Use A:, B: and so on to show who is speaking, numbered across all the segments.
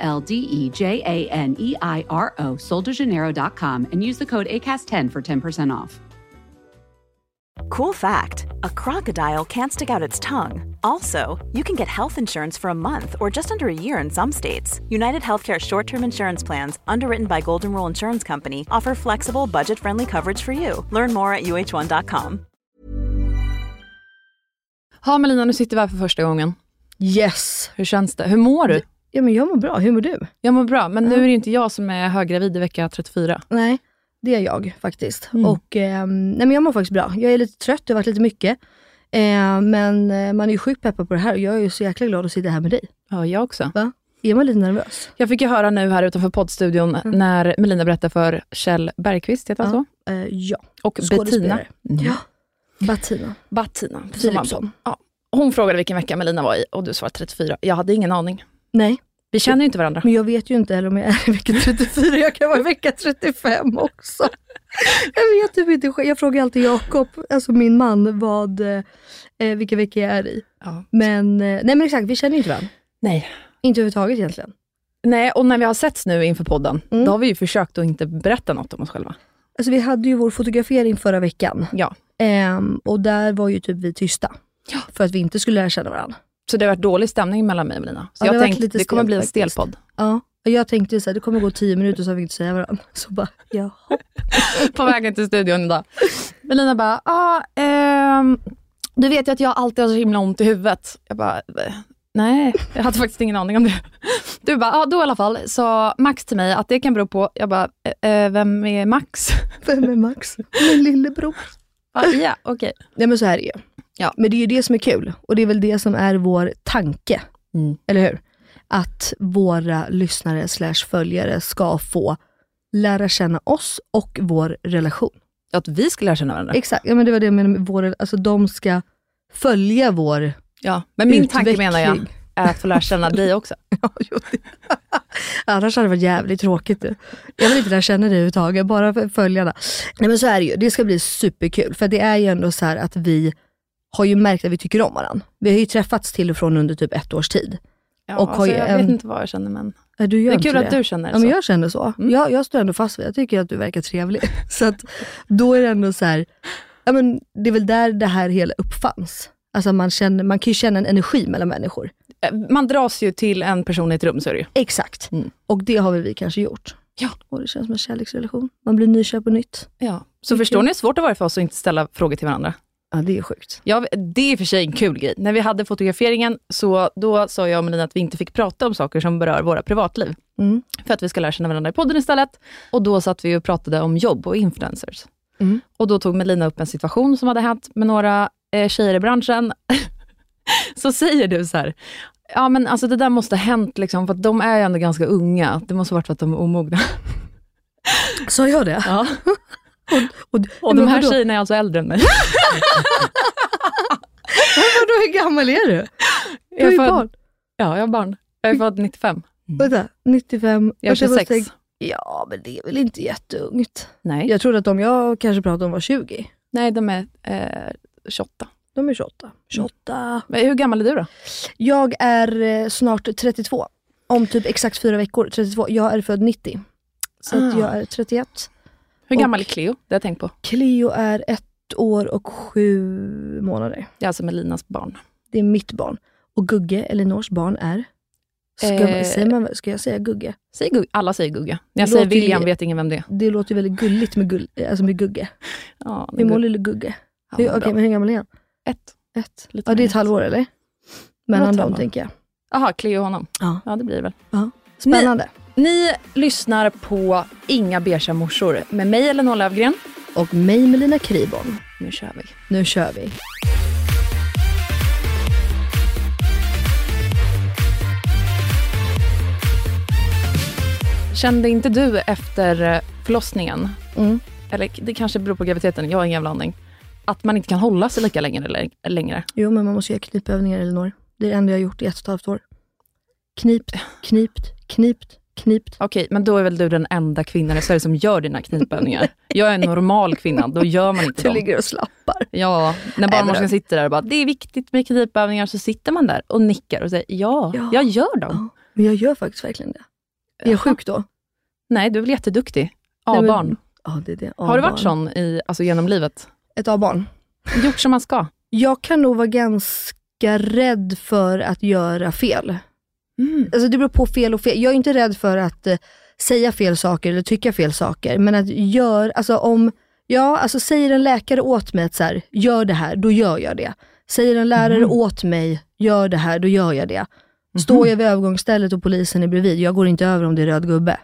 A: L D E J A N E I R O, soldejaneiro.com, and use the code ACAST10 for 10% off.
B: Cool fact a crocodile can't stick out its tongue. Also, you can get health insurance for a month or just under a year in some states. United Healthcare short term insurance plans, underwritten by Golden Rule Insurance Company, offer flexible, budget friendly coverage for you. Learn more at uh1.com.
C: Ja, Melina, nu sitter vi här för första gången.
D: Yes.
C: Hur känns det? Hur mår du?
D: Ja, men jag mår bra. Hur mår du?
C: Jag mår bra, men nu är det ju inte jag som är höggravid i vecka 34.
D: Nej, det är jag faktiskt.
C: Mm.
D: Och, ehm, nej, men jag mår faktiskt bra. Jag är lite trött, det har varit lite mycket. Eh, men eh, man är ju sjukt peppad på det här och jag är ju så jäkla glad att sitta här med dig.
C: Ja, jag också.
D: Är man lite nervös?
C: Jag fick ju höra nu här utanför poddstudion när Melina berättade för Kjell Bergqvist, heter han så?
D: Eh, Mm. ja.
C: Och Bettina. Mm.
D: Skådespelare. Ja. Batina.
C: Bettina som
D: Philipsson.
C: man- Ja. Hon frågade vilken vecka Melina var i och du svarade 34. Jag hade ingen aning.
D: Nej,
C: Vi känner ju inte varandra.
D: men jag vet ju inte heller om jag är i vecka 34. Jag kan vara i vecka 35 också. Jag vet typ inte själv. Jag frågar alltid Jakob, alltså min man, vad, eh, vilka veckor jag är i.
C: Ja.
D: Men, eh, nej men exakt, vi känner ju inte varandra.
C: Nej.
D: Inte överhuvudtaget egentligen.
C: Nej, och när vi har setts nu inför podden,
D: Mm.
C: då har vi ju försökt att inte berätta något om oss själva.
D: Alltså vi hade ju vår fotografering förra veckan.
C: Ja.
D: Ehm, och där var ju typ vi tysta. För att vi inte skulle lära känna varandra.
C: Så det har varit dålig stämning mellan mig och Melina. Så
D: Ja, det
C: jag
D: har varit
C: tänkte
D: lite
C: det kommer
D: stelt
C: bli en
D: faktiskt.
C: stel podd.
D: Ja. Och jag tänkte ju så här, det kommer gå tio minuter så har vi inte säga varandra. Så bara, jaha.
C: på vägen till studion idag. Melina bara, ah, ehm, du vet ju att jag alltid har så himla ont i huvudet. Jag bara, nej, jag hade faktiskt ingen aning om det. Du bara, ah, då i alla fall sa Max till mig att det kan bero på, jag bara, eh, eh, vem är Max?
D: Vem är Max? Min lillebror.
C: Ja, ja okej.
D: Nej men så här är det ju.
C: Ja.
D: Men det är ju det som är kul. Och det är väl det som är vår tanke.
C: Mm.
D: Eller hur? Att våra lyssnare slash följare ska få lära känna oss och vår relation.
C: Att vi skulle lära känna varandra.
D: Exakt, ja, men det var det jag menade med vår, alltså de ska följa vår
C: Ja, men min tanke
D: Utveckling.
C: menar jag är att få lära känna dig också.
D: Ja, jo, det- Annars hade det varit jävligt tråkigt. du. Jag vill inte lära känna dig överhuvudtaget, bara för följarna. Nej men så är det ju, det ska bli superkul. För det är ju ändå så här att vi har ju märkt att vi tycker om varandra. Vi har ju träffats till och från under typ ett års tid.
C: Ja,
D: Och har
C: alltså,
D: ju
C: jag
D: en-
C: vet inte vad jag känner, men
D: Ja, Du gör
C: det är
D: inte
C: kul
D: det.
C: att du känner
D: Ja,
C: så.
D: men jag känner så. Mm. Jag, jag står ändå fast vid det. Jag tycker att du verkar trevlig. så att, då är det ändå så här, ja, men det är väl där det här hela uppfanns. Alltså man, känner, man kan ju känna en energi mellan människor.
C: Eh, Man dras ju till en person i ett rum, så är det ju.
D: Exakt.
C: Mm.
D: Och det har väl vi kanske gjort.
C: Ja.
D: Och det känns som en kärleksrelation. Man blir nykär på nytt.
C: Ja. Så förstår ni hur svårt det var för oss att inte ställa frågor till varandra?
D: Ja, det är sjukt.
C: Ja, det är i och för sig en kul grej. När vi hade fotograferingen, så då sa jag och Melina att vi inte fick prata om saker som berör våra privatliv.
D: Mm.
C: För att vi ska lära känna varandra i podden istället. Och då satt vi och pratade om jobb och influencers.
D: Mm.
C: Och då tog Melina upp en situation som hade hänt med några eh, tjejer i branschen. så säger du så här, ja men alltså det där måste ha hänt, liksom, för att de är ju ändå ganska unga. Det måste ha varit för att de är omogna.
D: Sa jag det?
C: Ja.
D: Och,
C: Och de här
D: vadå,
C: tjejerna är alltså äldre än mig.
D: vadå, hur gammal är du? Du är
C: Jag
D: ju
C: är född-
D: barn.
C: Ja, jag är barn. Jag är född 95.
D: Vänta, 95.
C: Jag är
D: Vänta, måste
C: 26.
D: tänka- Ja, men det är väl inte jätteungt.
C: Nej.
D: Jag trodde att de jag kanske pratade om var 20.
C: Nej, de är eh, 28.
D: De är 28. 28.
C: Men hur gammal är du då?
D: Jag är eh, snart 32. Om typ exakt fyra veckor. 32. Jag är född 90. Så att
C: Ah.
D: jag är 31.
C: Hur
D: Och-
C: gammal är Cleo? Det har jag tänkt på.
D: Cleo är ett år och sju månader.
C: Det är alltså Melinas barn.
D: Det är mitt barn. Och Gugge, Elinors barn, är... Ska,
C: Eh.
D: säger man, ska jag säga Gugge?
C: Säg Gugge. Alla säger Gugge. När jag
D: Det
C: säger
D: låter ju-
C: William vet ingen vem det är.
D: Det låter ju väldigt gulligt med, gull, eh, alltså med Gugge.
C: Ja,
D: Hur
C: men
D: mår
C: Gugge.
D: lille Gugge?
C: Ja,
D: Hur,
C: bra.
D: okej, men hur gammal är han?
C: Ett.
D: Ett.
C: Lite
D: Ja, det
C: mer
D: är
C: än
D: ett halvår eller? Mellan
C: ett
D: dem
C: halvår.
D: tänker jag.
C: Jaha, Cleo och honom.
D: Ja.
C: Ja, det blir det väl.
D: Spännande.
C: Ni lyssnar på Inga beiga morsor med mig Elinor Löfgren.
D: Och mig Melina Kriborn.
C: Nu kör vi.
D: Nu kör vi.
C: Kände inte du efter eh, förlossningen,
D: Mm.
C: eller det kanske beror på graviditeten, jag har ingen jävla aning, att man inte kan hålla sig lika länge eller längre?
D: Jo, men man måste göra knipövningar Elinor. Det är det enda jag har gjort i ett och ett halvt år. Knipt, knipt, knipt, knipt.
C: Okej, men då är väl du den enda kvinnan i Sverige som gör dina knipövningar. Jag är en normal kvinna, då gör man inte
D: Du
C: dem.
D: ligger och slappar.
C: Ja, när barnmorskan sitter där och bara, det är viktigt med knipövningar, så sitter man där och nickar och säger, ja,
D: Ja.
C: jag gör dem.
D: Men jag gör faktiskt verkligen det. Är jag sjuk då?
C: Nej, du är väl jätteduktig.
D: Nej, men-
C: A-barn.
D: Ja, det är det.
C: Har du varit
D: A-barn.
C: sån i, alltså, genom livet?
D: Ett A-barn.
C: Gjort som man ska?
D: Jag kan nog vara ganska rädd för att göra fel.
C: Mm.
D: Alltså det beror på fel och fel. Jag är inte rädd för att eh, säga fel saker eller tycka fel saker. Men att göra, alltså om, ja alltså säger en läkare åt mig att så här, gör det här, då gör jag det. Säger en lärare
C: Mm-hmm.
D: åt mig, gör det här, då gör jag det. Står jag vid övergångsstället och polisen är bredvid, jag går inte över om det är röd gubbe.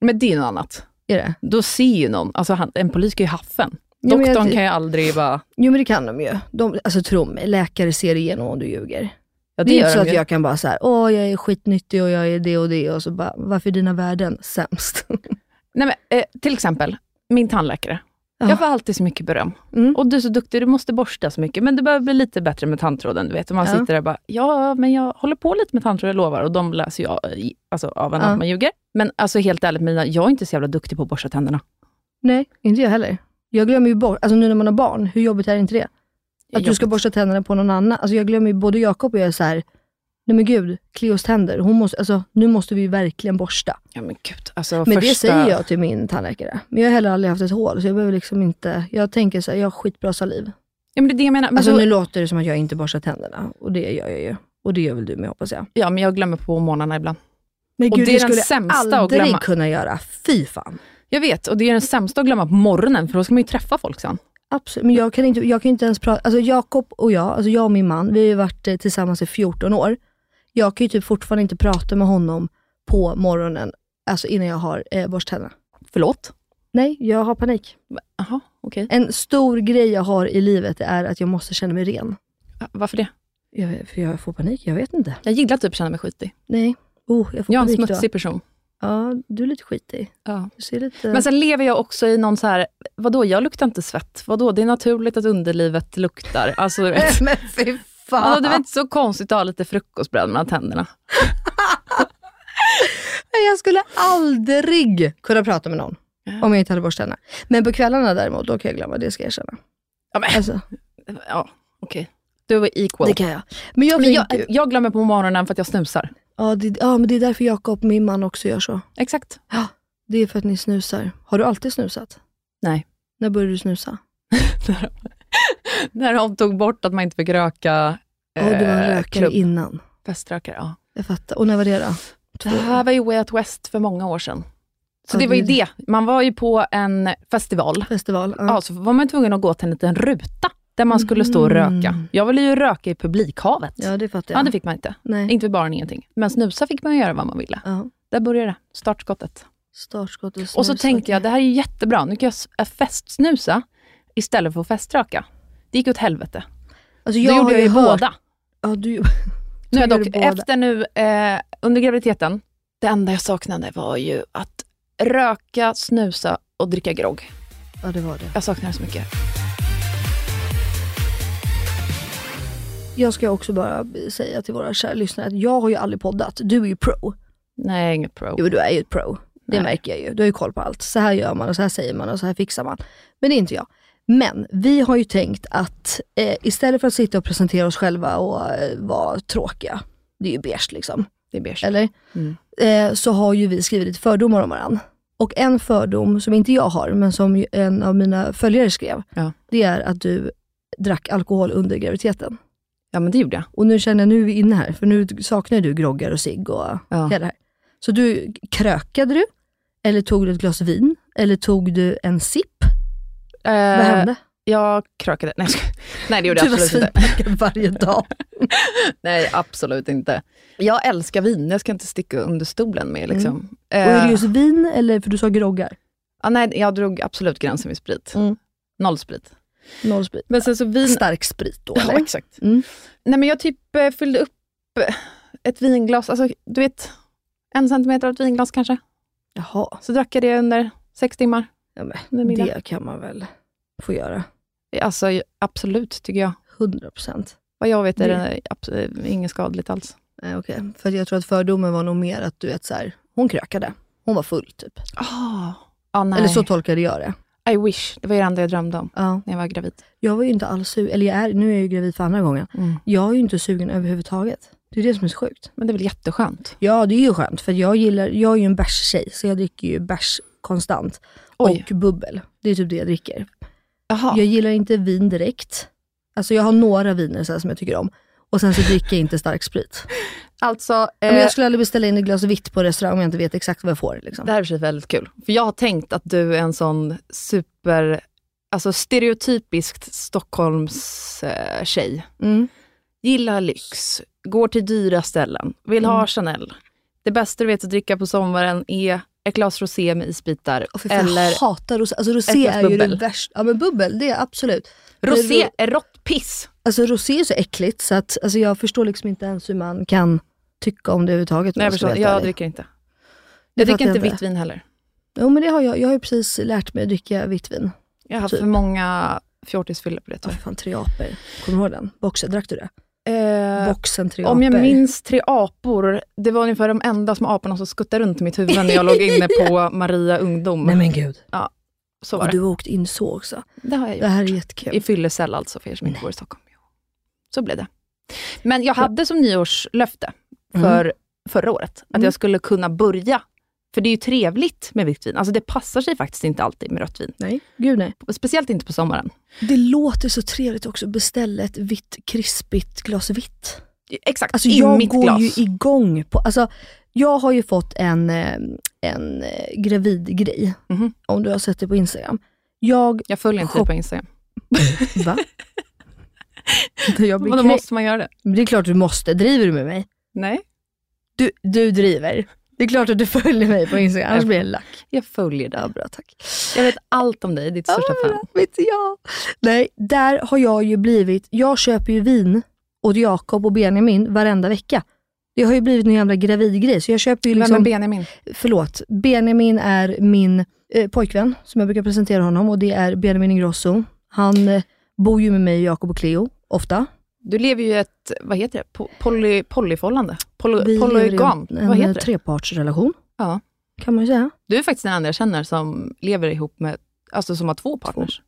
C: Men det är något annat.
D: Är det?
C: Då ser ju någon, alltså han, en polis kan ju haffa en.
D: Jo, men jag-
C: Doktorn kan ju aldrig bara...
D: Jo men det kan de ju. De, alltså tro mig, läkare ser igenom om du ljuger.
C: Ja,
D: Det, är inte så
C: de
D: att
C: ju.
D: jag kan bara så här, åh jag är skitnyttig och jag är det och det och så bara, varför är dina värden sämst?
C: Nej, men, eh, till exempel, min tandläkare.
D: Ja.
C: Jag får alltid så mycket beröm.
D: Mm.
C: Och du är så duktig, du måste borsta så mycket, men du behöver bli lite bättre med tandtråden. Du vet, och man
D: Ja.
C: sitter där och bara, ja, men jag håller på lite med tandtråd, jag lovar. Och de läser jag i- alltså, av en
D: Ja.
C: att man ljuger. Men alltså helt ärligt Mina, jag är inte så jävla duktig på att borsta tänderna.
D: Nej, inte jag heller. Jag glömmer ju bort, alltså nu när man har barn, hur jobbigt är inte det? Att du ska
C: Jobbigt.
D: borsta tänderna på någon annan. Alltså jag glömmer ju, både Jakob och jag är så här, nej men gud, Cleos tänder, hon måste, alltså, nu måste vi ju verkligen borsta.
C: Ja men gud, alltså
D: Men
C: första...
D: det säger jag till min tandläkare. Men jag har heller aldrig haft ett hål, så jag behöver liksom inte, jag tänker så här, jag har skitbra saliv.
C: Ja men det är det jag menar. Men
D: Alltså
C: då,
D: nu låter det som att jag inte borstar tänderna, och det gör jag ju. Och det gör väl du med hoppas jag.
C: Ja men jag glömmer på morgnarna ibland.
D: Men
C: Och
D: gud,
C: det är
D: det
C: den
D: skulle jag
C: sämsta att
D: aldrig
C: glömma.
D: kunna göra. Fy fan.
C: Jag vet, och det är den sämsta att glömma på morgonen, för då ska man ju träffa folk sen.
D: Absolut, men jag kan inte, jag kan inte ens prata. Alltså Jakob och jag, alltså jag och min man, vi har ju varit eh, tillsammans i 14 år. Jag kan ju typ fortfarande inte prata med honom på morgonen, alltså innan jag har eh, borstat tänderna.
C: Förlåt?
D: Nej, jag har panik.
C: Jaha, okej.
D: En stor grej jag har i livet är att jag måste känna mig ren.
C: Ja, Varför det?
D: Jag, för jag får panik, jag vet inte.
C: Jag gillar typ att känna mig skitig.
D: Nej, oh, jag får
C: Jag är en
D: panik då.
C: smutsig person.
D: Ja, du är lite skitig.
C: Ja.
D: Du ser lite...
C: Men sen lever jag också i någon så här, vadå, jag luktar inte svett. Vadå, det är naturligt att underlivet luktar. Alltså, du vet.
D: men fy fan.
C: Alltså, det är väl inte så konstigt att ha lite frukostbröd mellan tänderna.
D: Jag skulle aldrig kunna prata med någon om jag inte hade borstat tänderna. Men på kvällarna däremot, då kan jag glömma. Det ska jag erkänna.
C: Ja, men,
D: Alltså,
C: ja, okej. Du är equal.
D: det kan jag. Men jag,
C: Men
D: tänker,
C: jag, jag glömmer på morgonen för att jag snusar.
D: Ja, det, ja, men det är därför Jakob, min man, också gör så.
C: Exakt.
D: Det är för att ni snusar. Har du alltid snusat?
C: Nej.
D: När började du snusa?
C: När de tog bort att man inte fick röka.
D: Ja, du var en rökare
C: klubb.
D: innan.
C: Feströkare, ja.
D: Jag fattar. Och när var det då?
C: Det här var ju Way Out West för många år sedan. Så
D: Ja,
C: det var ju
D: det
C: det. Mm. Man var ju på en festival.
D: Festival? Ja.
C: Ja, så var man tvungen att gå till en liten ruta där man skulle stå och röka.
D: Mm.
C: Jag ville ju röka i publikhavet.
D: ja, det fattar jag.
C: Ja, det fick man inte.
D: Nej.
C: Inte vid baren, ingenting. Men snusa fick man göra vad man ville.
D: Ja.
C: Där började det. Startskottet.
D: Startskott och snus.
C: Och så tänkte jag, det här är ju jättebra. Nu kan jag s- äh, festsnusa istället för att feströka. Det gick åt helvete.
D: Alltså,
C: Då gjorde
D: har
C: jag ju
D: hört-
C: båda.
D: Ja, du...
C: Nu är
D: Tog
C: dock,
D: du båda?
C: efter nu, eh, under graviditeten, det enda jag saknade var ju att röka, snusa och dricka grogg.
D: ja, det var det.
C: Jag saknade så mycket.
D: Jag ska också bara säga till våra kära lyssnare att jag har ju aldrig poddat. Du är ju pro.
C: Nej, inget pro.
D: Jo, du är ju ett pro. Det
C: Nej.
D: märker jag ju. Du har ju koll på allt. Så här gör man och så här säger man och så här fixar man. Men det är inte jag. Men vi har ju tänkt att eh, istället för att sitta och presentera oss själva och eh, vara tråkiga, det är ju beige liksom,
C: Det är beige.
D: eller?
C: Mm.
D: Eh, så har ju vi skrivit lite fördomar om varandra. Och en fördom som inte jag har, men som ju en av mina följare skrev,
C: Ja.
D: det är att du drack alkohol under graviditeten.
C: Ja, men det gjorde jag.
D: Och nu känner jag, nu är vi inne här, för nu saknar du groggar och cigg och
C: Ja.
D: hela det här. Så du, krökade du? Eller tog du ett glas vin? Eller tog du en sipp?
C: Eh,
D: Vad hände?
C: Jag krökade. Nej, jag skojar. Nej det gjorde
D: Du
C: jag
D: var
C: absolut inte.
D: svinpackad varje dag.
C: Nej, absolut inte. Jag älskar vin, jag ska inte sticka under stolen med. Liksom.
D: Mm. Och är
C: Eh,
D: det just vin, eller, för du sa groggar,
C: ja, nej, jag drog absolut gränsen vid sprit.
D: Mm.
C: Noll sprit.
D: noll sprit.
C: Men sen så vin...
D: Stark sprit då
C: Ja,
D: eller?
C: exakt.
D: Mm.
C: Nej, men jag typ eh, fyllde upp eh, ett vinglas, alltså, du vet, en centimeter av ett vinglas kanske.
D: Jaha,
C: Så drack jag det under sex timmar.
D: ja,
C: Under
D: men,
C: middag.
D: det kan man väl få göra.
C: Alltså absolut, tycker jag.
D: 100 procent.
C: Vad jag vet är
D: Det-
C: det eh, abs- inget skadligt alls.
D: Nej, Eh, okej. För jag tror att fördomen var nog mer att du vet, så här, hon krökade. Hon var full typ.
C: Oh. Ah, nej.
D: Eller så tolkade jag det.
C: I wish. Det var ju det enda jag drömde om
D: Ja.
C: när jag var gravid.
D: Jag var ju inte alls sugen, eller jag är, nu är jag ju gravid för andra gången.
C: Mm.
D: Jag är ju inte sugen överhuvudtaget. Det är det som är så sjukt.
C: Men det är väl jätteskönt?
D: Ja, det är ju skönt, för jag gillar, jag är ju en bärstjej, så jag dricker ju bärs konstant.
C: Oj.
D: Och bubbel. Det är typ det jag dricker.
C: Jaha.
D: Jag gillar inte vin direkt. Alltså jag har några viner så här som jag tycker om. Och sen så dricker jag inte stark sprit.
C: Alltså,
D: Ja,
C: eh,
D: Men jag skulle aldrig beställa in ett glas vitt på restaurang om jag inte vet exakt vad jag får. Liksom.
C: det här är i och för sig väldigt kul. För jag har tänkt att du är en sån super, alltså stereotypiskt Stockholms eh, tjej.
D: Mm.
C: Gillar lyx, går till dyra ställen, vill ha Chanel. Det bästa du vet att dricka på sommaren är ett glas rosé med isbitar.
D: Och för fan,
C: eller
D: Jag hatar rosé. Alltså
C: ett
D: rosé
C: glas
D: är ju det
C: bubbel.
D: värsta. Ja men bubbel, det är absolut.
C: rosé är rått piss.
D: Alltså rosé är så äckligt så att alltså, jag förstår liksom inte ens hur man kan tycka om det överhuvudtaget. om
C: Nej, jag,
D: ska
C: förstår,
D: vara helt
C: jag
D: ärlig.
C: dricker inte.
D: Det
C: Jag dricker
D: fattar
C: inte
D: jag
C: vitt
D: inte.
C: vin heller.
D: Jo men det har jag. Jag har ju precis lärt mig att dricka vitt vin.
C: Jag har haft
D: Typ.
C: för många fjortisfyllor på det
D: Ja,
C: tyvärr.
D: för fan, tre apor. Kommer du ihåg den? Boxen, drack du det?
C: Eh,
D: Boxen tre
C: Om jag
D: apor.
C: minns tre apor, det var ungefär de enda små aporna som skuttade runt i mitt huvud när jag låg inne på Maria Ungdom.
D: Nej men gud.
C: så var
D: Och
C: det.
D: du har åkt in så också.
C: Det har jag
D: Det
C: gjort.
D: här är
C: I
D: jättekul.
C: fyllecell alltså, för er som inte bor i Stockholm. Jo. Så blev det. Men jag hade som nyårslöfte för förra året, att
D: Mm.
C: jag skulle kunna börja. För det är ju trevligt med vitt vin. Alltså det passar sig faktiskt inte alltid med rött vin.
D: Nej, gud nej.
C: Speciellt inte på sommaren.
D: Det låter så trevligt också att beställa ett vitt krispigt glas vitt.
C: Exakt,
D: Alltså
C: in
D: jag
C: mitt
D: går
C: glas.
D: ju igång på, alltså jag har ju fått en, eh, en eh, gravidgrej,
C: Mhm.
D: om du har sett det på Instagram. Jag,
C: Jag följer inte dig på Instagram.
D: va? jag blir
C: Men då
D: krä-
C: måste man göra det.
D: Men Det är klart du måste, driver du med mig?
C: Nej,
D: Du, du driver. Det är klart att du följer mig på Instagram, annars blir jag lack.
C: jag följer dig.
D: Ja, bra tack.
C: Jag vet allt om dig, ditt största fan.
D: Vet inte jag. Nej, där har jag ju blivit, jag köper ju vin åt Jakob och Benjamin varenda vecka. Det har ju blivit en jävla gravidgrej, så jag köper ju liksom
C: Vem är Benjamin?
D: förlåt, Benjamin är min eh, pojkvän, som jag brukar presentera honom, och det är Benjamin Ingrosso. Han eh, bor ju med mig, Jakob och Cleo, ofta.
C: Du lever ju ett, vad heter det, Po- poly, polyförhållande?
D: Vi
C: Poly,
D: lever i
C: polygam?
D: en, eh,
C: Vad
D: en
C: heter det?
D: trepartsrelation,
C: Ja.
D: kan man ju säga.
C: Du är faktiskt den enda jag känner som lever ihop med, alltså som har två partners.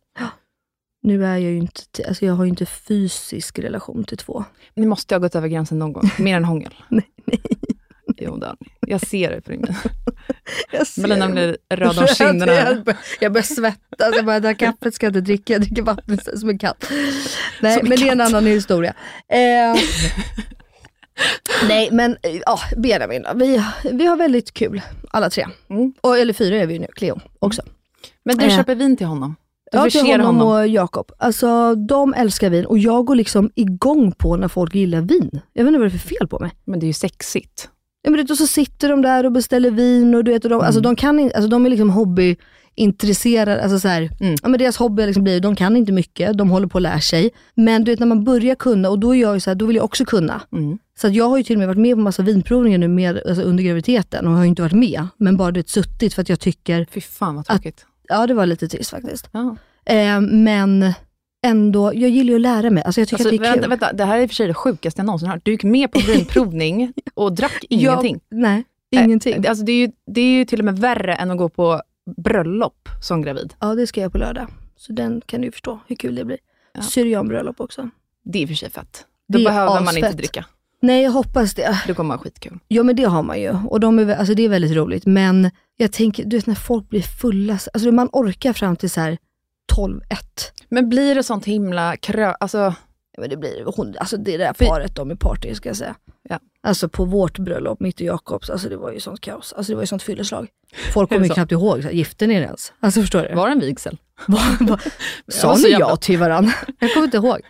D: Nu är jag ju inte, t- alltså jag har ju inte fysisk relation till två.
C: Ni måste ha gått över gränsen någon gång, mer än hångel.
D: Nej,
C: Jo, det har ni. Jag ser det på din min.
D: Jag ser
C: Melina
D: det.
C: blir röd om kinderna.
D: Jag bör- Jag börjar svettas, jag bara, det här kaffet ska jag inte dricka, jag dricker vatten som en katt. Nej,
C: Som en
D: men det är en
C: katt.
D: annan historia. Eh, nej, men eh, ja, Benjamin då. vi, vi har väldigt kul, alla tre.
C: Mm.
D: Och, eller fyra är vi ju nu, Cleo också.
C: Men du
D: Eh.
C: köper vin till honom? Du
D: Ja, till
C: förser
D: honom,
C: honom?
D: och Jakob. Alltså, de älskar vin och jag går liksom igång på när folk gillar vin. Jag vet inte vad det är för fel på mig.
C: Men det är ju sexigt.
D: Ja, men du vet, och så sitter de där och beställer vin och du vet, och de,
C: Mm.
D: alltså, de, kan, in- alltså, de är liksom hobbyintresserade. Alltså, så här,
C: Mm.
D: ja, men deras hobby har liksom blir, de kan inte mycket, de håller på att lära sig. Men du vet när man börjar kunna, och då är jag ju så här, då vill jag också kunna.
C: Mm.
D: Så att jag har ju till och med varit med på massa vinprovningar nu med, alltså, under graviditeten och har ju inte varit med, men bara du vet, suttit för att jag tycker,
C: Fy fan vad tråkigt.
D: ja det var lite trist faktiskt.
C: Ja.
D: Eh, men ändå, jag gillar ju att lära mig. Alltså, jag tycker
C: Alltså,
D: att det är kul.
C: vänta, vänta, det här är i och för sig det sjukaste jag någonsin hört. Du gick med på vinprovning och drack ingenting.
D: Jag, nej, ingenting.
C: Eh, Alltså det, är ju, det är ju till och med värre än att gå på bröllop som gravid.
D: Ja, det ska jag på lördag. Så den kan du ju förstå hur kul det blir.
C: Ja.
D: Syrianbröllop också.
C: Det är i och för sig fett. Då
D: Det är
C: behöver man
D: asfett.
C: inte dricka.
D: Nej, jag hoppas det.
C: Då kommer man ha skitkul.
D: Ja, men det har man ju. Och de är, vä- alltså, det är väldigt roligt. Men jag tänker, du vet när folk blir fulla. Alltså man orkar fram till så här 12-1.
C: Men blir det sånt himla krö... Alltså,
D: Ja, men det blir hon, alltså det där
C: Fy-
D: paret, de är party ska jag säga.
C: Ja.
D: Alltså på vårt bröllop, mitt och Jakobs, alltså det var ju sånt kaos. Alltså det var ju sånt fylleslag. Folk kommer ju
C: så?
D: knappt ihåg, så här, gifte ni er ens? Alltså förstår du?
C: var det en vigsel?
D: Vad- vad-
C: Det var
D: Sa
C: så
D: ni
C: jävla-
D: ja till varandra? Jag kommer inte ihåg.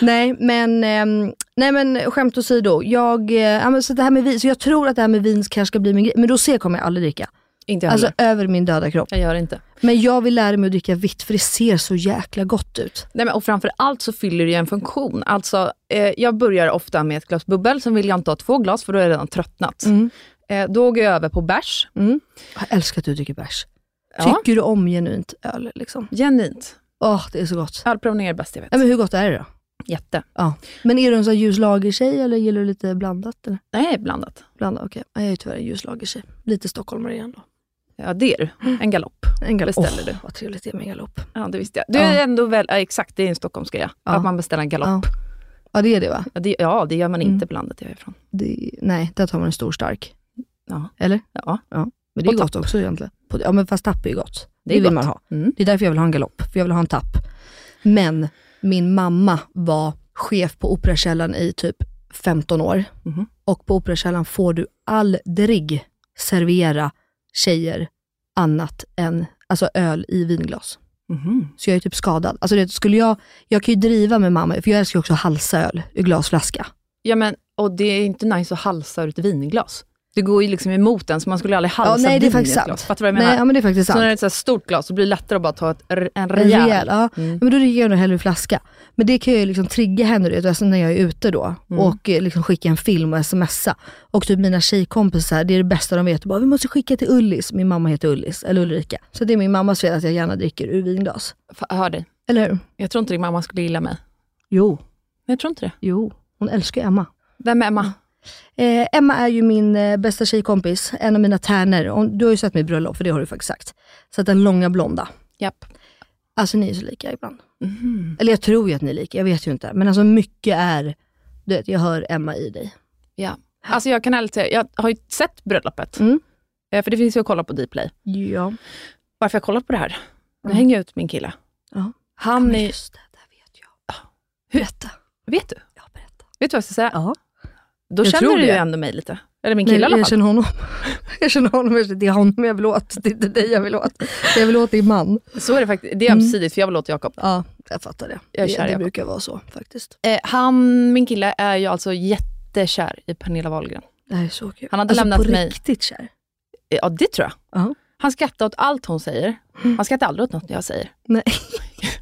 D: Nej men, ehm, nej, men skämt åsido. Jag, eh, ja, men så, det här med vin, så jag tror att det här med vin kanske ska bli min grej. Men rosé kommer jag aldrig dricka.
C: Inte jag
D: Alltså
C: heller.
D: över min döda kropp.
C: Jag gör det inte.
D: Men jag vill lära mig att dricka vitt för det ser så jäkla gott ut.
C: Nej, men, och framför allt så fyller det ju en funktion. Alltså, eh, jag börjar ofta med ett glas bubbel, sen vill jag inte ha två glas för då är jag redan tröttnat. Eh, då går jag över på bärs.
D: Mm. Jag älskar att du dricker bärs.
C: Ja.
D: Tycker du om genuint öl? Liksom?
C: Genuint.
D: Åh, det är så gott.
C: Ölprovning är det bästa jag vet.
D: Nej, men hur gott är det då?
C: Jätte.
D: Men är du en sån här ljus lagertjej eller gillar du lite blandat? Eller?
C: Nej, blandat.
D: Blandat, okej. Nej, Jag är tyvärr en ljus lagertjej. Lite stockholmare igen då.
C: Ja, det är du. En galopp.
D: En galopp.
C: Beställer
D: Åh,
C: du.
D: Vad trevligt det är med en galopp.
C: Ja, det visste jag. Du
D: Ja.
C: är ändå väl, ja, exakt, det är en Stockholmsgrej.
D: Ja.
C: Att man beställer en galopp.
D: Ja. ja, det är det va?
C: Ja, det, ja, det gör man inte
D: Mm.
C: på landet jag är ifrån.
D: Det, nej, där tar man en stor stark.
C: Ja.
D: Eller?
C: Ja.
D: Men det är
C: Och
D: gott också egentligen. På- Ja, men fast tapp är ju gott.
C: Det är
D: Det, vill
C: gott.
D: man ha.
C: Mm.
D: Det är därför jag vill ha en galopp, för jag vill ha en tapp. Men min mamma var chef på Operakällan i typ 15 år.
C: Mhm.
D: Och på Operakällan får du aldrig servera tjejer annat än alltså öl i vinglas.
C: Mhm.
D: Så jag är typ skadad. Alltså det, skulle jag, jag kan ju driva med mamma, för jag älskar ju också halsöl ur glasflaska.
C: Ja, men, och det är inte nice att halsa ur ett vinglas. Det går ju liksom emot den, så man skulle aldrig halsa
D: Ja, nej, det
C: Alltså,
D: är
C: vin i
D: faktiskt
C: ett
D: sant.
C: glas. Fattar du vad jag
D: Nej,
C: menar?
D: ja, men det är faktiskt
C: så
D: sant.
C: när det är ett så här stort glas, så blir det lättare att bara ta ett, r- en
D: En
C: rejäl.
D: rejäl, ja.
C: Mm.
D: Men då dricker jag nog hellre flaska. Men det kan jag ju liksom trigga henne du vet, alltså när jag är ute då
C: Mm.
D: och eh, liksom skicka en film och smsa. Och typ mina tjejkompisar, det är det bästa de vet. Bara, vi måste skicka till Ullis. Min mamma heter Ullis, eller Ulrika. Så det är min mammas fel att jag gärna dricker ur vinglas.
C: Fa- jag Hör dig.
D: Eller hur?
C: Jag tror inte din mamma skulle gilla mig.
D: Jo,
C: Men jag tror inte det. Mm.
D: jo. Hon älskar ju Emma.
C: Vem är Emma?
D: Eh, Emma är ju min eh, bästa tjejkompis, en av mina tärnor. Hon- Du har ju sett mitt bröllop, för det har du faktiskt sagt. Så att den långa blonda.
C: Japp.
D: Alltså ni är så lika ibland. Eller jag tror ju att ni är lika, jag vet ju inte. Men alltså mycket är, du vet, jag hör Emma i dig.
C: Ja. Alltså jag kan ärligt säga, jag har ju sett bröllopet.
D: Mm.
C: Eh, För det finns ju att kolla på Dplay.
D: Ja.
C: Varför jag kollat på det här? Nu hänger jag ut min kille.
D: Mm. Ja.
C: Han är,
D: Just det, där vet jag.
C: Ah, Hur-
D: Berätta.
C: vet du?
D: Ja, berätta.
C: Vet du vad jag ska säga?
D: Ja.
C: Då
D: Jag
C: känner
D: tror
C: du ju
D: det.
C: ändå mig lite. Eller min kille
D: Nej,
C: i alla
D: jag
C: fall.
D: känner honom. Jag känner honom, jag känner- det är honom jag vill åt. Det är inte dig jag vill åt. Jag vill åt din man.
C: Så är det faktiskt. Det är
D: Mm.
C: ömsesidigt, för jag vill åt Jakob.
D: Ja, jag fattar det.
C: Jag är
D: det,
C: kär i
D: det
C: Jakob.
D: brukar vara så faktiskt.
C: Eh, han, min kille, är ju alltså jättekär i Pernilla Wahlgren.
D: Det här är så kul.
C: Han hade
D: alltså,
C: lämnat
D: på
C: mig.
D: riktigt kär.
C: Eh, Ja, det tror jag.
D: Ja.
C: Han skrattar åt allt hon säger. Han skrattar aldrig åt något jag säger.
D: Nej.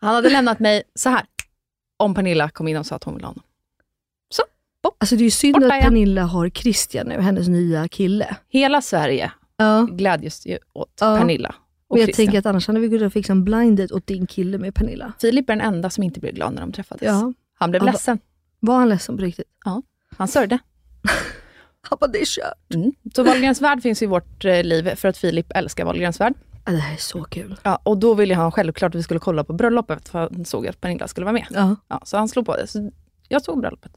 C: Han hade lämnat mig så här. Om Pernilla kom in och sa att hon ville ha honom.
D: Alltså det är ju synd
C: Borta,
D: att
C: ja.
D: Pernilla har Christian nu, hennes nya kille.
C: Hela Sverige
D: Ja.
C: glädjes ju åt
D: Ja.
C: Pernilla och
D: Men jag
C: Christian.
D: tänker att annars hade vi kunnat fixa en blind date åt din kille med Pernilla.
C: Filip är den enda som inte blev glad när de träffades.
D: Ja.
C: Han blev
D: Ja, va-
C: ledsen.
D: Var han ledsen på riktigt?
C: Han sörjde.
D: Han bara, det är kört.
C: Mm. Så Wahlgrens värld finns i vårt eh, liv för att Filip älskar Wahlgrens värld.
D: Ja, det här är så kul.
C: Ja, och då ville han självklart att vi skulle kolla på bröllopet, för han såg att Pernilla skulle vara med.
D: Ja.
C: Ja, så han slog på det. Så jag såg bröllopet.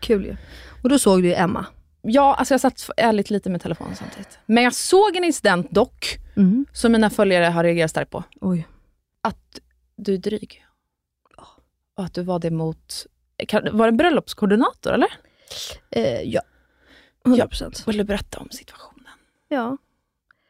D: Kul ju. Och då såg du ju Emma.
C: Ja, alltså jag satt ärligt lite med telefonen samtidigt. Men jag såg en incident dock,
D: Mm.
C: som mina följare har reagerat starkt på.
D: Oj.
C: Att du är dryg. Och att du var det mot... Kan, var det en bröllopskoordinator, eller?
D: Eh, ja. 100 procent.
C: Vill du berätta om situationen? Mm.
D: Ja.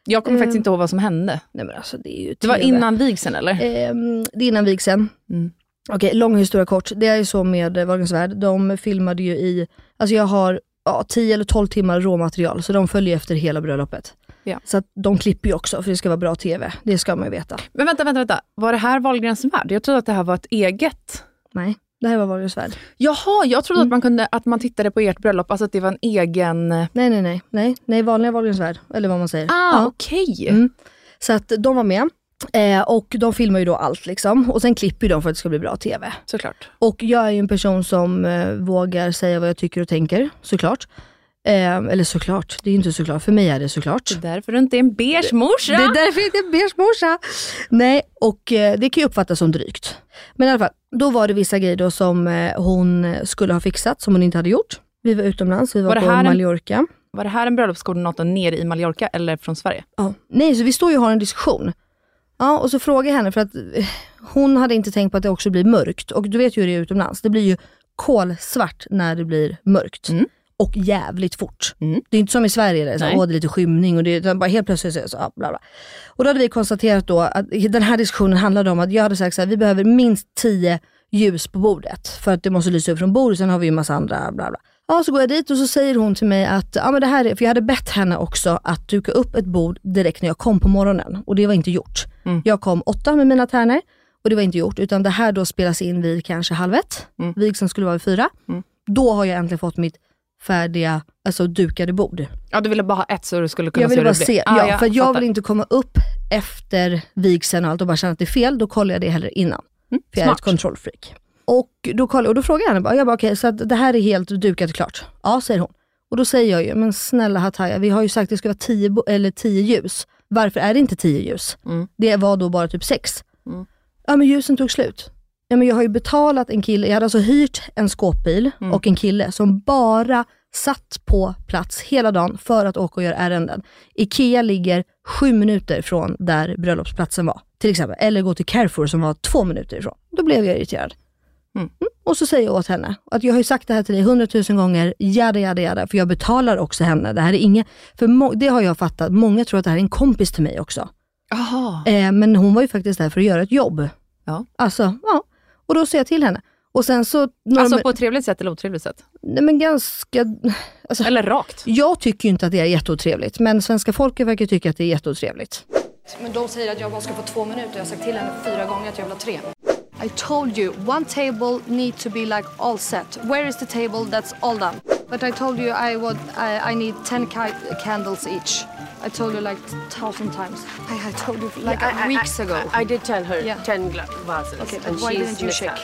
C: Jag kommer
D: Eh.
C: faktiskt inte ihåg vad som hände.
D: Nej men alltså det är ju
C: Det var
D: TV.
C: innan vigseln, eller?
D: Ehm, det är innan vigseln.
C: Mm.
D: Okej, lång historia kort. Det är ju så med eh, Wahlgrens Värld. De filmade ju i, alltså jag har ja, 10 eller 12 timmar råmaterial, så de följer efter hela bröllopet.
C: Ja.
D: Så att de klipper ju också, för det ska vara bra TV. Det ska man ju veta.
C: Men vänta, vänta, vänta. Var det här Wahlgrens värld? Jag trodde att det här var ett eget... Mm.
D: Nej, det här var Wahlgrens Värld.
C: Jaha, jag trodde att, man kunde, att man tittade på ert bröllop, alltså att det var en egen... Ah,
D: Nej, nej, nej. Nej, nej vanliga Wahlgrens Värld, eller vad man säger. Ja.
C: okej.
D: Mm. Så att de var med. Eh, och de filmar ju då allt liksom. Och sen klipper ju de för att det ska bli bra TV.
C: Såklart.
D: Och jag är ju en person som eh, vågar säga vad jag tycker och tänker, såklart. Eh, eller såklart, det är ju inte såklart. För mig är det såklart.
C: Det är därför du inte är en beige morsa.
D: Det är därför jag inte är beige morsa. Nej, och eh, det kan ju uppfattas som drygt. Men i alla fall, då var det vissa grejer då som eh, hon skulle ha fixat, som hon inte hade gjort. Vi var utomlands, vi var,
C: Var det
D: på
C: här en-
D: Mallorca.
C: Var det här en bröllopskoordinator nere i Mallorca eller från Sverige?
D: Ja. Nej, så vi står ju och har en diskussion. Ja, och så frågar jag henne för att eh, hon hade inte tänkt på att det också blir mörkt. Och du vet ju hur det är utomlands. Det blir ju kolsvart när det blir mörkt.
C: Mm.
D: Och jävligt fort.
C: Mm.
D: Det är inte som i Sverige där det är så här,
C: Nej.
D: åh, det är lite skymning och det är utan bara helt plötsligt så är det så, ja, bla bla. Och då hade vi konstaterat då att den här diskussionen handlade om att jag hade sagt så här, vi behöver minst 10 ljus på bordet för att det måste lysa upp från bordet. Sen har vi ju massa andra bla bla. Ja, så går jag dit och så säger hon till mig att, ja men det här är, för jag hade bett henne också att duka upp ett bord direkt när jag kom på morgonen och det var inte gjort. Jag kom åtta med mina tärnor och det var inte gjort utan det här då spelas in vid kanske halv ett. Vigseln skulle vara vid fyra. Då har jag äntligen fått mitt färdiga, alltså dukade bord.
C: Ja, du ville bara ha ett så du skulle kunna
D: Jag vill
C: se hur
D: bara
C: det blir.
D: se,
C: Ah,
D: ja, för jag
C: fattar.
D: vill inte komma upp efter vigseln och allt och bara känna att det är fel, då kollar jag det hellre innan. För jag är ett
C: Mm, smart.
D: kontrollfreak. Och då, kollade, och då frågade jag henne, bara, jag bara okej, så att det här är helt dukat och klart? Ja, säger hon. Och då säger jag ju, men snälla Hataya, vi har ju sagt att det ska vara 10 bo- eller 10 ljus. Varför är det inte 10 ljus?
C: Mm.
D: Det var då bara typ 6.
C: Mm.
D: Ja, men ljusen tog slut. Ja, men jag har ju betalat en kille, jag hade alltså hyrt en skåpbil och en kille som bara satt på plats hela dagen för att åka och göra ärenden. IKEA ligger sju minuter från där bröllopsplatsen var, till exempel. Eller gå till Carrefour som var två minuter ifrån. Då blev jag irriterad.
C: Mm.
D: Och så säger jag åt henne att jag har ju sagt det här till dig hundratusen gånger, jada jada jada, för jag betalar också henne. Det här är inget, för må- det har jag fattat, många tror att det här är en kompis till mig också.
C: Jaha.
D: Eh, men hon var ju faktiskt där för att göra ett jobb.
C: Ja.
D: Alltså, ja. Och då säger jag till henne. Och sen så... när
C: Alltså
D: de-
C: på ett trevligt sätt eller otrevligt sätt?
D: nej, men ganska... alltså,
C: Eller rakt?
D: Jag tycker ju inte att det är jätteotrevligt, men svenska folket verkar tycka att det är jätteotrevligt.
E: Men de säger att jag bara ska få två minuter. Jag har sagt till henne fyra gånger att jag vill ha tre. I told you, one table need to be like all set. Where is the table that's all done? But I told you I would, I, I need ten ki- candles each. I told you like thousand times. I, I told you like weeks ago.
F: I did tell her
E: Yeah.
F: 10 gla- vases.
E: okay,
F: and
E: but why
F: she's
E: didn't you
F: missed
E: check?
F: out.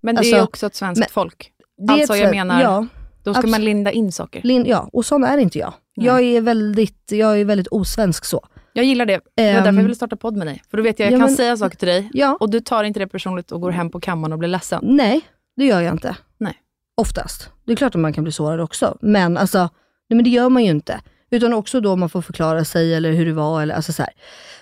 C: Men det är
D: Alltså,
C: ju också ett svenskt
D: men-
C: folk.
D: är
C: Alltså jag
D: ett-
C: menar,
D: ja.
C: då ska man
D: absolut.
C: linda in saker.
D: Lin, ja, och sån är inte jag. Jag är, väldigt, jag är väldigt osvensk så.
C: Jag gillar det. Det var
D: Ehm.
C: därför jag ville starta podd med dig. För då vet jag, jag
D: Ja,
C: kan
D: men-
C: säga saker till dig
D: Ja.
C: och du tar inte det personligt och går hem på kammaren och blir ledsen.
D: Nej, det gör jag inte.
C: Nej.
D: Oftast. Det är klart att man kan bli sårad också, men, alltså, nej, men det gör man ju inte. Utan också då man får förklara sig eller hur det var. Eller, alltså så här.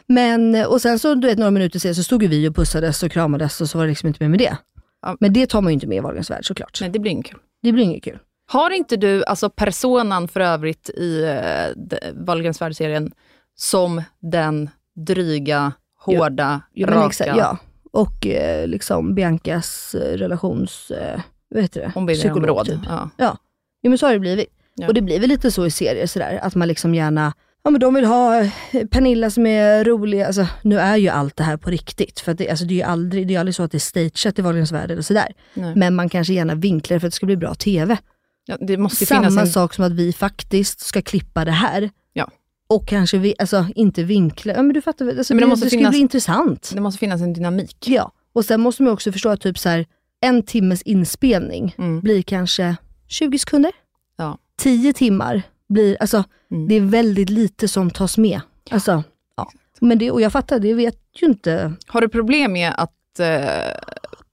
D: Men, och sen så du vet, några minuter senare så stod ju vi och pussades och kramades och så var det liksom inte mer med det.
C: Ja.
D: Men det tar man ju inte med i Wahlgrens värld såklart.
C: Nej, det blir inget kul.
D: Det blir inget kul.
C: Har inte du alltså personan för övrigt i eh, d- Wahlgrens värld-serien som den dryga, hårda,
D: Jo, men
C: raka?
D: exakt, ja. Och eh, liksom Biancas eh, relations... Eh, vad heter det?
C: Hon ber dig om
D: Psykolog,
C: råd.
D: typ.
C: Ja.
D: Jo men så har det blivit.
C: Ja.
D: Och det blir väl lite så i serier sådär, att man liksom gärna, ja men de vill ha eh, Pernilla som är rolig, alltså nu är ju allt det här på riktigt. För att det, alltså, det är ju aldrig, det är aldrig så att det är stageat i Wahlgrens värld eller sådär.
C: Nej.
D: Men man kanske gärna vinklar för att det ska bli bra TV.
C: Ja, det måste ju finnas
D: Samma
C: en...
D: sak som att vi faktiskt ska klippa det här.
C: Ja.
D: Och kanske vi, alltså, inte vinkla, ja men du fattar väl, alltså,
C: Men det
D: det,
C: måste
D: det ska ju
C: finnas-
D: bli intressant.
C: Det måste finnas en dynamik.
D: Ja, och sen måste man också förstå att typ så här, en timmes inspelning
C: Mm.
D: blir kanske 20 sekunder.
C: Ja.
D: 10 timmar blir, alltså
C: Mm.
D: det är väldigt lite som tas med. Alltså, ja. Men det, och jag fattar, det vet ju inte.
C: Har du problem med att eh,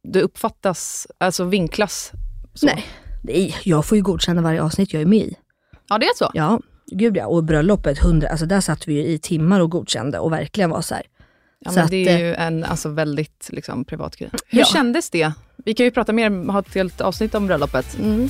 C: du uppfattas, alltså vinklas så?
D: Nej. Nej, jag får ju godkänna varje avsnitt jag är med i.
C: Ja, det är så?
D: Ja, gud ja. Och bröllopet, 100, alltså där satt vi ju i timmar och godkände och verkligen var så här.
C: Ja,
D: Så
C: men
D: att,
C: det är
D: eh,
C: ju en alltså, väldigt liksom, privat grej. Hur
D: Ja.
C: kändes det? Vi kan ju prata mer, ha ett helt avsnitt om bröllopet.
D: Mm.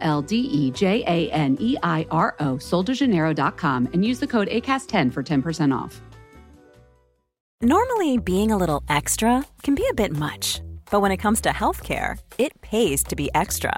A: L D E J A N E I R O, soldejaneiro.com, and use the code ACAST10 for 10% off.
B: Normally, being a little extra can be a bit much, but when it comes to healthcare, it pays to be extra.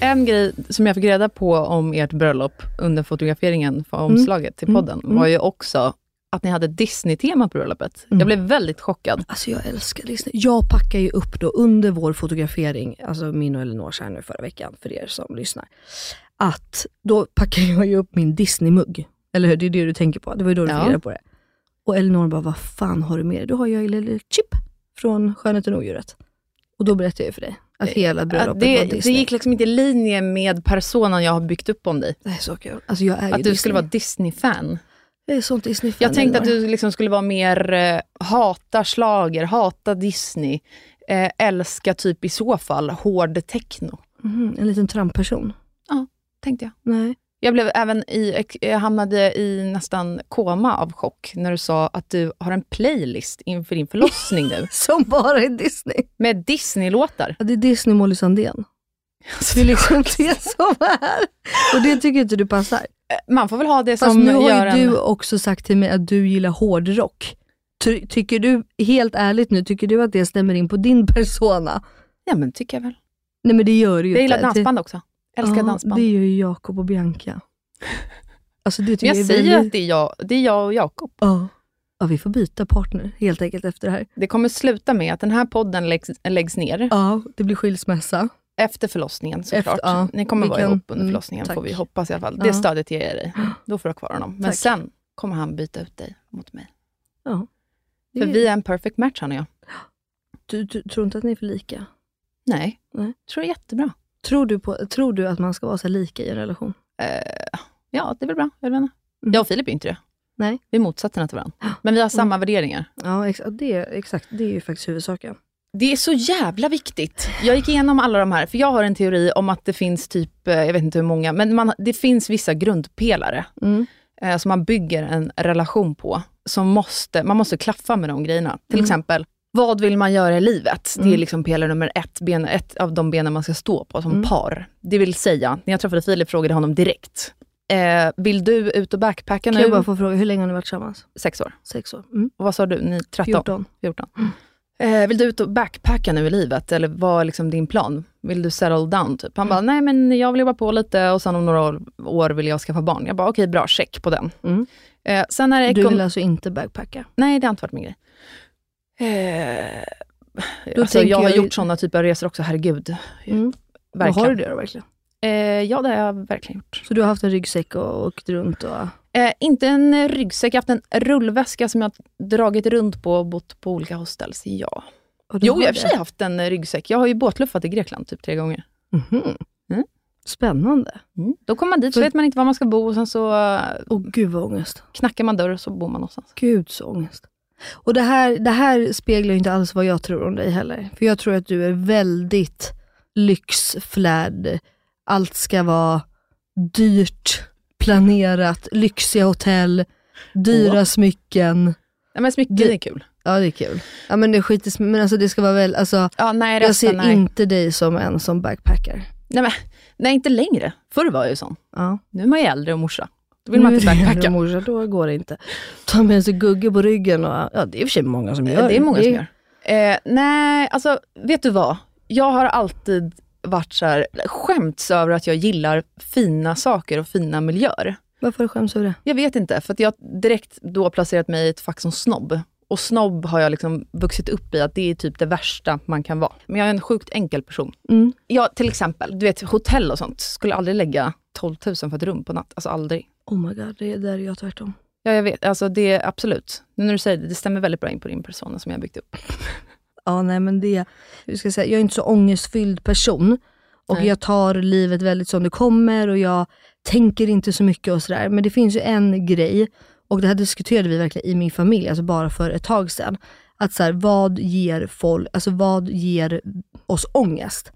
C: En grej som jag fick reda på om ert bröllop under fotograferingen för
D: Mm.
C: omslaget till podden var ju också att ni hade Disney-tema på bröllopet.
D: Mm.
C: Jag blev väldigt chockad.
D: Alltså jag älskar Disney. Jag packar ju upp då under vår fotografering, alltså min och Elinors här nu förra veckan, för er som lyssnar. Att då packar jag ju upp min Disney-mugg. Eller hur? Det är det du tänker på. Det var ju då du
C: Ja.
D: fick reda på det. Och Elinor bara, vad fan har du med dig? Då har jag ju lille Chip från Skönheten och odjuret. Och då berättade jag ju för dig Att hela bröllopet
C: Att Eh, det,
D: var
C: det
D: Disney.
C: gick liksom inte i linje med personen jag har byggt upp om dig.
D: Det är så kul. Alltså jag är ju
C: Att du skulle
D: Disney.
C: vara Disney-fan.
D: Jag är sånt Disney-fan.
C: Jag tänkte att
D: Elinor.
C: du liksom skulle vara mer eh, hata slager, hata Disney, eh, älska typ i så fall hård techno,
D: Mhm, en liten trampperson.
C: tänkte jag.
D: Nej.
C: Jag, blev även i, jag hamnade i nästan koma av chock när du sa att du har en playlist inför din förlossning nu,
D: Som bara är Disney.
C: med Disney-låtar.
D: Ja, det är Disney Molly Sandén. Det är liksom det som är. Och det tycker inte du passar.
C: Man får väl ha det
D: Fast
C: som
D: nu har
C: gör
D: ju
C: en...
D: du också sagt till mig att du gillar hårdrock. Ty- tycker du, helt ärligt nu, tycker du att det stämmer in på din persona?
C: Ja, men tycker jag väl.
D: Nej men det gör det ju
C: Jag
D: inte.
C: gillar dansband också. Älskar
D: ja,
C: dansband.
D: Det gör ju Jakob och Bianca. Alltså det tycker
C: Men jag
D: är
C: säger ju
D: väldigt-
C: att det är jag, det är jag och Jakob.
D: Ja. ja, vi får byta partner helt enkelt efter det här.
C: Det kommer sluta med att den här podden läggs, läggs ner
D: Ja, det blir skilsmässa.
C: efter förlossningen såklart.
D: Efter- ja.
C: Ni kommer
D: Vi
C: vara
D: kan-
C: ihop under
D: mm,
C: förlossningen,
D: tack.
C: får vi hoppas i alla fall.
D: Ja.
C: Det stödet ger jag dig. Då får du ha kvar honom. Men
D: Tack.
C: sen kommer han byta ut dig mot mig.
D: Ja.
C: För
D: Det-
C: vi är en perfect match, han och jag.
D: Du, du tror inte att ni är för lika?
C: Nej,
D: Nej.
C: tror jag är jättebra.
D: Tror du, på, tror du att man ska vara så här lika i en relation?
C: Eh, ja, det är väl bra. Jag, vet inte.
D: Mm.
C: jag och Filip är ju inte det.
D: Nej. Mm.
C: Vi är motsatserna till varandra. Men vi har samma värderingar.
D: Ja, ex- ja, det, är- exakt. Det är ju faktiskt huvudsaken.
C: Det är så jävla viktigt. Jag gick igenom alla de här, för jag har en teori om att det finns typ, eh, jag vet inte hur många, men man, det finns vissa grundpelare
D: Mm.
C: eh, som man bygger en relation på. Som måste, man måste klaffa med de grejerna. Till
D: Mm.
C: exempel, vad vill man göra i livet? Det är liksom pelare nummer ett, ben, ett av de benen man ska stå på
D: Mm.
C: som par. Det vill säga, när jag träffade Filip frågade jag honom direkt, eh, vill du ut och backpacka
D: Kan jag bara
C: nu?
D: få fråga, hur länge har ni varit tillsammans?
C: Sex år.
D: Sex år? Mm.
C: Och vad sa du? Ni 13?
D: 14?
C: 14. Eh, vill du ut och backpacka nu i livet? Eller vad är liksom din plan? Vill du settle down? Typ? Han
D: Mm.
C: bara, nej men jag vill jobba på lite och sen om några år- år vill jag skaffa barn. Jag bara, okej bra, check på den.
D: Mm.
C: Eh, sen är det
D: Du
C: ekon-
D: vill alltså inte backpacka?
C: Nej, det har inte varit min grej. Eh, alltså,
D: tänker
C: jag har
D: jag-
C: gjort sådana typer av resor också, herregud.
D: Mm. Men
C: Verkligen.
D: Har du det då verkligen?
C: Eh, ja, det har jag verkligen gjort.
D: Så du har haft en ryggsäck och åkt runt? Och...
C: Eh, inte en eh, ryggsäck, jag har haft en rullväska som jag har dragit runt på och bott på olika hostels. Ja.
D: och du
C: Jo,
D: har
C: jag har i och för
D: det.
C: sig haft en eh, ryggsäck. Jag har ju båtluffat i Grekland typ tre gånger.
D: Mhm.
C: Mm.
D: Spännande.
C: Då kommer man dit så
D: För-
C: vet man inte var man ska bo och sen så eh,
D: Åh gud vad ångest.
C: knackar man dörr och så bor man någonstans.
D: Gud så ångest. Och det här, det här speglar ju inte alls vad jag tror om dig heller. För jag tror att du är väldigt lyxflärd. Allt ska vara dyrt, planerat, lyxiga hotell, dyra smycken.
C: Nej, men smycken
D: Det-
C: är kul.
D: Ja det är kul. Ja men det skiter sm- men alltså det ska vara väl, alltså
C: Ja, nej,
D: jag
C: resten,
D: ser
C: nej.
D: inte dig som en som backpackar.
C: Nej, men, nej, inte längre. Förr var jag ju sån.
D: Ja.
C: Nu är man ju äldre och morsa. Då vill man
D: Nu
C: inte
D: är det
C: backpacka.
D: Morsa, då går det inte. Ta med sig Gugge på ryggen och, ja det är i och för sig många som gör
C: Det är många som gör. Eh, nej, alltså vet du vad? Jag har alltid varit så här, skämts över att jag gillar fina saker och fina miljöer.
D: Varför skäms du över det?
C: Jag vet inte, för att jag direkt då placerat mig i ett fack som snobb. Och snobb har jag liksom vuxit upp i att det är typ det värsta man kan vara. Men jag är en sjukt enkel person.
D: Mm.
C: Jag till exempel, du vet hotell och sånt, skulle aldrig lägga 12 000 för ett rum på natt. Alltså aldrig.
D: Oh my god, det är där är jag tvärtom.
C: Ja, jag vet. Alltså det är absolut. Nu när du säger det, det stämmer väldigt bra in på din persona som jag byggt upp.
D: Ja, nej men det, hur ska jag säga, jag är inte så ångestfylld person. Och
C: Nej.
D: jag tar livet väldigt som det kommer och jag tänker inte så mycket och sådär. Men det finns ju en grej, och det här diskuterade vi verkligen i min familj, alltså bara för ett tag sedan. Att så här, vad ger folk, alltså vad ger oss ångest?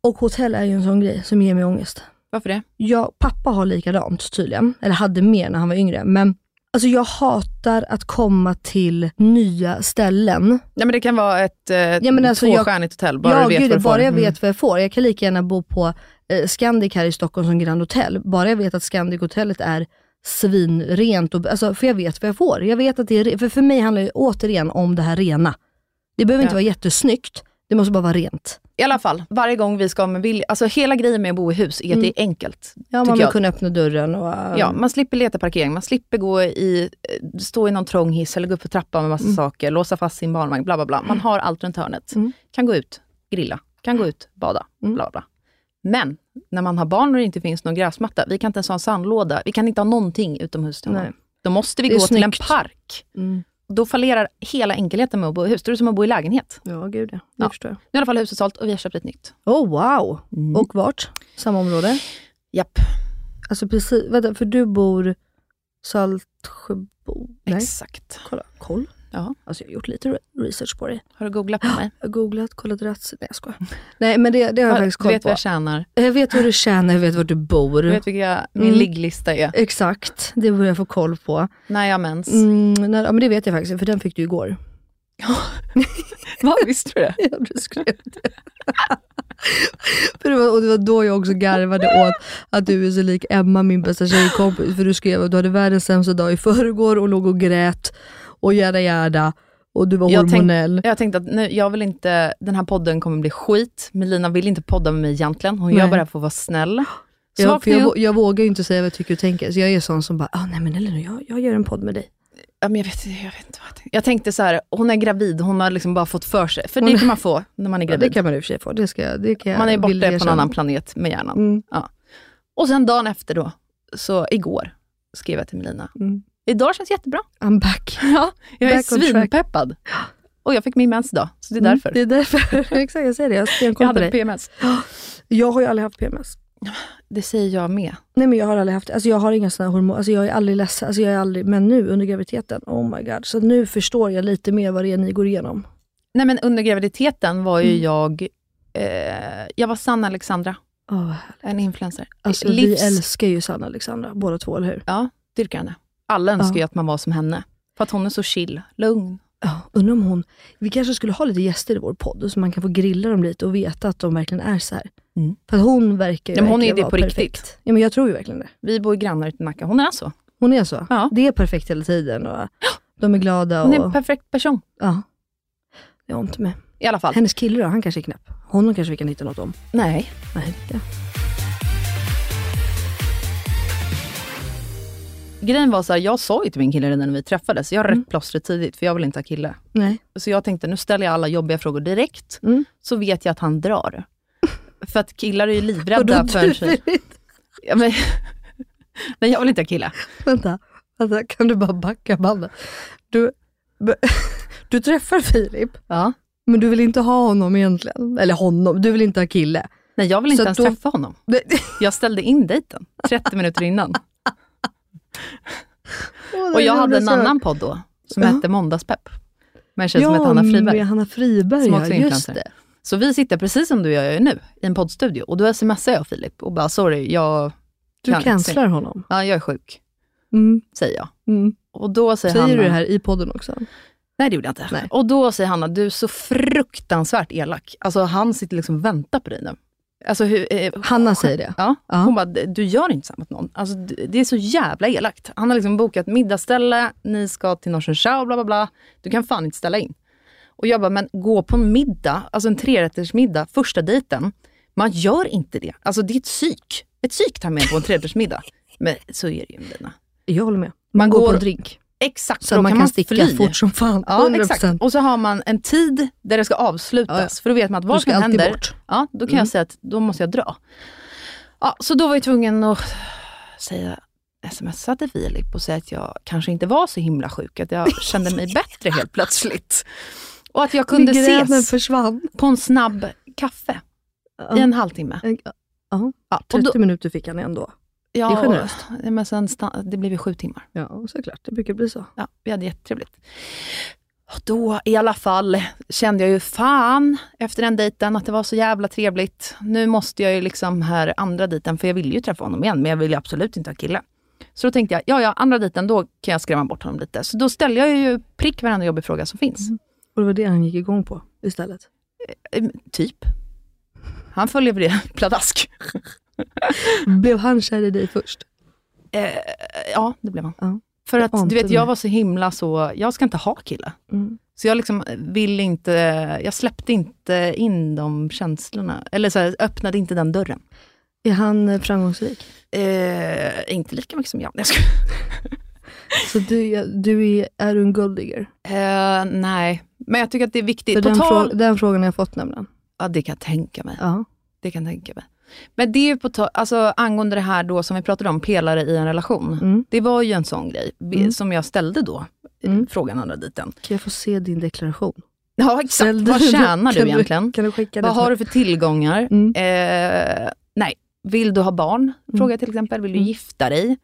D: Och hotell är ju en sån grej som ger mig ångest.
C: Varför det?
D: Jag, pappa har likadant tydligen, eller hade mer när han var yngre. Men alltså jag hatar att komma till nya ställen
C: Nej, men det kan vara ett eh,
D: Ja, men alltså, jag-
C: tvåstjärnigt hotell, bara du vet
D: gud,
C: vad du får. Mm.
D: bara jag vet vad Mm. jag får. Jag kan lika gärna bo på eh, Scandic här i Stockholm som Grand Hotel. Bara jag vet att Scandic-hotellet är svinrent, och, alltså, för jag vet vad jag får. Jag vet att det är, re- för, för mig handlar det återigen om det här rena. Det behöver inte
C: Ja.
D: vara jättesnyggt, det måste bara vara rent.
C: I alla fall, varje gång vi ska med Willy, alltså hela grejen med att bo i hus är att det är
D: Mm.
C: enkelt.
D: Ja, man
C: tycker
D: vill
C: jag.
D: kunna öppna dörren och... eh,
C: Ja, man slipper leta parkering, man slipper gå i, eh, stå i någon trång hiss eller gå upp för trappan med
D: Mm.
C: massa saker, låsa fast sin barnvagn, bla bla bla. Man har allt runt hörnet. Kan gå ut, grilla, kan gå ut, bada,
D: Mm.
C: bla bla. Men när man har barn och det inte finns någon gräsmatta, vi kan inte ens ha en sandlåda, vi kan inte ha någonting utomhus till honom.
D: Nej.
C: Då måste vi
D: Det
C: gå
D: är
C: till en
D: snyggt.
C: park.
D: Mm.
C: då fallerar hela enkelheten med att bo i hus. Det är som att bo i lägenhet.
D: Ja, gud ja. Det
C: Ja.
D: förstår jag.
C: Nu är i alla fall huset sålt och vi har köpt ett nytt.
D: Oh wow!
C: Mm.
D: Och vart? Samma område?
C: Japp,
D: Alltså precis, vänta, för du bor Saltsjöbo? Nej,
C: exakt.
D: kolla. Koll?
C: Ja.
D: Alltså jag har gjort lite re- research på det.
C: Har du googlat på mig?
D: Jag har googlat, kollat rätt. Nej jag skojar. Nej men det, det har jag faktiskt
C: Du
D: koll
C: vet vad
D: på.
C: jag tjänar.
D: Jag vet hur du känner, jag vet var du bor.
C: Du vet vilka min
D: Mm.
C: ligglista är.
D: Exakt, det börjar jag få koll på.
C: När jag har mens.
D: Mm, nej, ja, men det vet jag faktiskt, för den fick du igår.
C: Va, visste du det?
D: Ja, du skrev det. för det, var, och det var då jag också garvade åt att du är så lik Emma, min bästa tjejkompis. För du skrev att du hade världens sämsta dag i förrgår och låg och grät och jada jada. Och du var
C: Jag tänk-
D: hormonell.
C: Jag tänkte att nu, jag vill inte, den här podden kommer bli skit. Melina vill inte podda med mig egentligen. Hon gör
D: Nej.
C: bara det för att vara snäll. Så
D: jag, för
C: vaknade
D: jag,
C: jag,
D: vå- jag vågar ju inte säga vad jag tycker och tänker, så jag är sån som bara, ah, nej men Elinor, jag, jag gör en podd med dig.
C: ja, men jag, vet, jag vet inte vad jag tänkte. Jag tänkte så här, hon är gravid, hon har liksom bara fått för sig. För det kan man få när man är
D: Ja, det
C: gravid.
D: kan man i och för sig få. Det ska, jag- det kan jag
C: Man är borta
D: villigt
C: på en
D: erkänna.
C: annan planet med hjärnan.
D: Mm.
C: Och sen dagen efter då, så igår, skrev jag till Melina.
D: Mm.
C: Idag känns jättebra.
D: I'm back.
C: Ja, jag är
D: Back on track. Mm.
C: svinpeppad. Och jag fick min mens idag, så det är därför.
D: Det är därför. Exakt, jag säger det. Jag har
C: jag
D: stenkoll på
C: hade
D: dig.
C: PMS.
D: jag har ju aldrig haft PMS.
C: Det säger jag med.
D: Nej men jag har aldrig haft Alltså jag har inga sådana hormoner. Alltså jag är aldrig ledsen. Alltså jag är aldrig, men nu under graviditeten, oh my god. Så nu förstår jag lite mer vad det är ni går igenom.
C: Nej, men under graviditeten var ju
D: Mm.
C: jag... Eh, jag var Sanna Alexandra,
D: Oh,
C: en influencer.
D: alltså
C: Livs-
D: Vi älskar ju Sanna Alexandra, båda två, eller hur?
C: Ja, dyrkar henne. Alla önskar
D: Ja.
C: ju att man var som henne. För att hon är så chill, lugn.
D: Ja, undrar om hon... Vi kanske skulle ha lite gäster i vår podd, så man kan få grilla dem lite och veta att de verkligen är så här.
C: Mm.
D: För att hon verkar ju
C: Ja, men hon är ju
D: verkligen
C: det på
D: vara
C: riktigt.
D: perfekt. Ja, men jag tror ju verkligen det.
C: Vi bor ju grannar ute i Nacka. Hon är alltså. så.
D: Hon är så.
C: Ja.
D: Det är perfekt hela tiden och de är glada. Och,
C: Hon är en perfekt person.
D: ja. Det har inte med.
C: I alla fall.
D: Hennes kille då, han kanske är knäpp. Honom kanske vi kan hitta något om.
C: Nej.
D: Nej, det.
C: Grejen var så här, jag sa ju till min kille redan när vi träffades, jag
D: Mm.
C: röt plåstret tidigt, för jag vill inte ha kille.
D: Nej.
C: Så jag tänkte, nu ställer jag alla jobbiga frågor direkt,
D: Mm.
C: så vet jag att han drar. för att killar är ju livrädda för en tjej. Ja, men, nej, jag vill inte ha kille.
D: Vänta, vänta, kan du bara backa bandet? Du, b- du träffar Filip,
C: Ja.
D: men du vill inte ha honom egentligen. Eller honom, du vill inte ha kille.
C: Nej, jag vill
D: Så
C: inte ens
D: då-
C: träffa honom.
D: Det-
C: Jag ställde in dejten 30 minuter innan.
D: Åh, det
C: Och jag
D: är
C: hade en
D: så-
C: annan podd då, som
D: Ja.
C: hette Måndagspepp. Med en tjej som
D: Ja,
C: hette Hanna Friberg.
D: med Hanna Friberg,
C: Som
D: ja,
C: också är
D: just
C: influencer.
D: det.
C: Så vi sitter precis som du och jag gör nu, i en poddstudio. Och då smsar jag Filip och bara, sorry, jag...
D: Du
C: kan inte.
D: cancelar honom.
C: Ja, jag är sjuk,
D: Mm,
C: säger jag.
D: mm.
C: Och då säger,
D: Säger
C: Hanna,
D: du det här i podden också?
C: Nej, det gjorde jag inte.
D: Nej.
C: Och då säger Hanna, du är så fruktansvärt elak. Alltså han sitter liksom och väntar på dig nu. Alltså, hur, eh,
D: Hanna säger det.
C: Ja.
D: Ja.
C: Hon bara, du gör inte så här mot någon. Alltså, d- det är så jävla elakt. Han har liksom bokat middagsställe, ni ska till Norsen Show, bla bla bla. Du kan fan inte ställa in. Och jag bara, men gå på en middag, alltså en trerättersmiddag, första dejten. Man gör inte det. Alltså det är ett psyk. Ett psyk tar med på en trerättersmiddag. Men så är det ju med dina.
D: Jag håller med. Man,
C: Man
D: går,
C: går-
D: på en drink,
C: Exakt,
D: så
C: då
D: man kan, sticka
C: fly.
D: fort som fan.
C: Ja,
D: 100%.
C: exakt. Och så har man en tid där det ska avslutas.
D: Ja, ja.
C: För då vet man att
D: Du
C: vad
D: ska
C: som
D: alltid
C: händer,
D: bort.
C: ja, då kan
D: Mm.
C: jag säga att då måste jag dra. Ja, så då var jag tvungen att säga, smsa till Filip och säga att jag kanske inte var så himla sjuk, att jag kände mig bättre helt plötsligt. Och att jag kunde
D: Migränen
C: ses
D: försvann.
C: på en snabb kaffe i en halvtimme. Ja, och
D: 30
C: då,
D: minuter fick han ändå.
C: ja,
D: det är generöst.
C: och- nej, men sen, sta- det blev ju sju timmar.
D: Ja, såklart. Det brukar bli så.
C: Ja, vi hade jättetrevligt. Och då i alla fall kände jag ju fan efter den dejten att det var så jävla trevligt. Nu måste jag ju liksom här andra dejten, för jag ville ju träffa honom igen, men jag ville ju absolut inte ha kille. Så då tänkte jag, ja ja, andra dejten, då kan jag skrämma bort honom lite. Så då ställde jag ju prick varenda jobbig fråga som finns.
D: Och det var det han gick igång på istället. Mm.
C: Ehm, typ. Han följer det pladask.
D: Blev han kär i dig först?
C: Eh, ja, det blev han.
D: Ja.
C: För
D: Det
C: att
D: ante
C: du vet,
D: mig.
C: jag var så himla så, jag ska inte ha kille.
D: Mm.
C: Så jag liksom ville inte, jag släppte inte in de känslorna, eller så här, öppnade inte den dörren.
D: Är han eh, framgångsrik?
C: Eh, inte lika mycket som jag. jag skojar.
D: Så du, är- du är, är du en golddigger?
C: eh, nej, men jag tycker att det är viktigt.
D: För
C: På
D: den,
C: tal...
D: frå- den frågan har jag fått nämligen.
C: Ja, det kan jag tänka mig.
D: Ja.
C: Det kan jag tänka mig. Men det är ju på tal, alltså angående det här då som vi pratade om, pelare i en relation.
D: Mm.
C: Det var ju en sån grej vi- som jag ställde då eh,
D: Mm.
C: frågan andra diten.
D: Kan jag få se din deklaration?
C: Ja, exakt.
D: Ställ
C: Vad
D: den-
C: tjänar du
D: kan
C: egentligen?
D: Kan du skicka
C: Vad
D: den?
C: har du för tillgångar?
D: Mm.
C: Eh, nej, vill du ha barn? Frågar jag till exempel. Vill du
D: Mm.
C: gifta dig?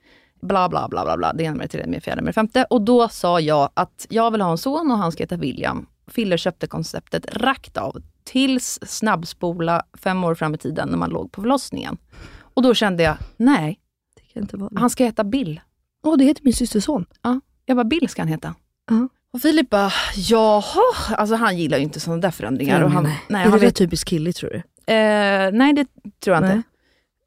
C: Bla, bla, bla, bla, bla. Det ena med det tredje, med det fjärde, med det femte. Och då sa jag att jag vill ha en son och han ska heta William. Filler köpte konceptet rakt av. Tills snabbspola fem år fram i tiden när man låg på förlossningen. Och då kände jag, nej,
D: Det kan inte vara det.
C: han ska heta Bill.
D: Åh, det heter min systerson.
C: Jag bara, Bill ska han heta.
D: Ja.
C: Och Filip bara, jaha. Alltså han gillar ju inte sådana där förändringar. Och han,
D: nej,
C: nej,
D: är
C: han
D: det
C: vet
D: vet... typiskt killigt tror du?
C: Eh, nej, det tror jag
D: Nej.
C: inte.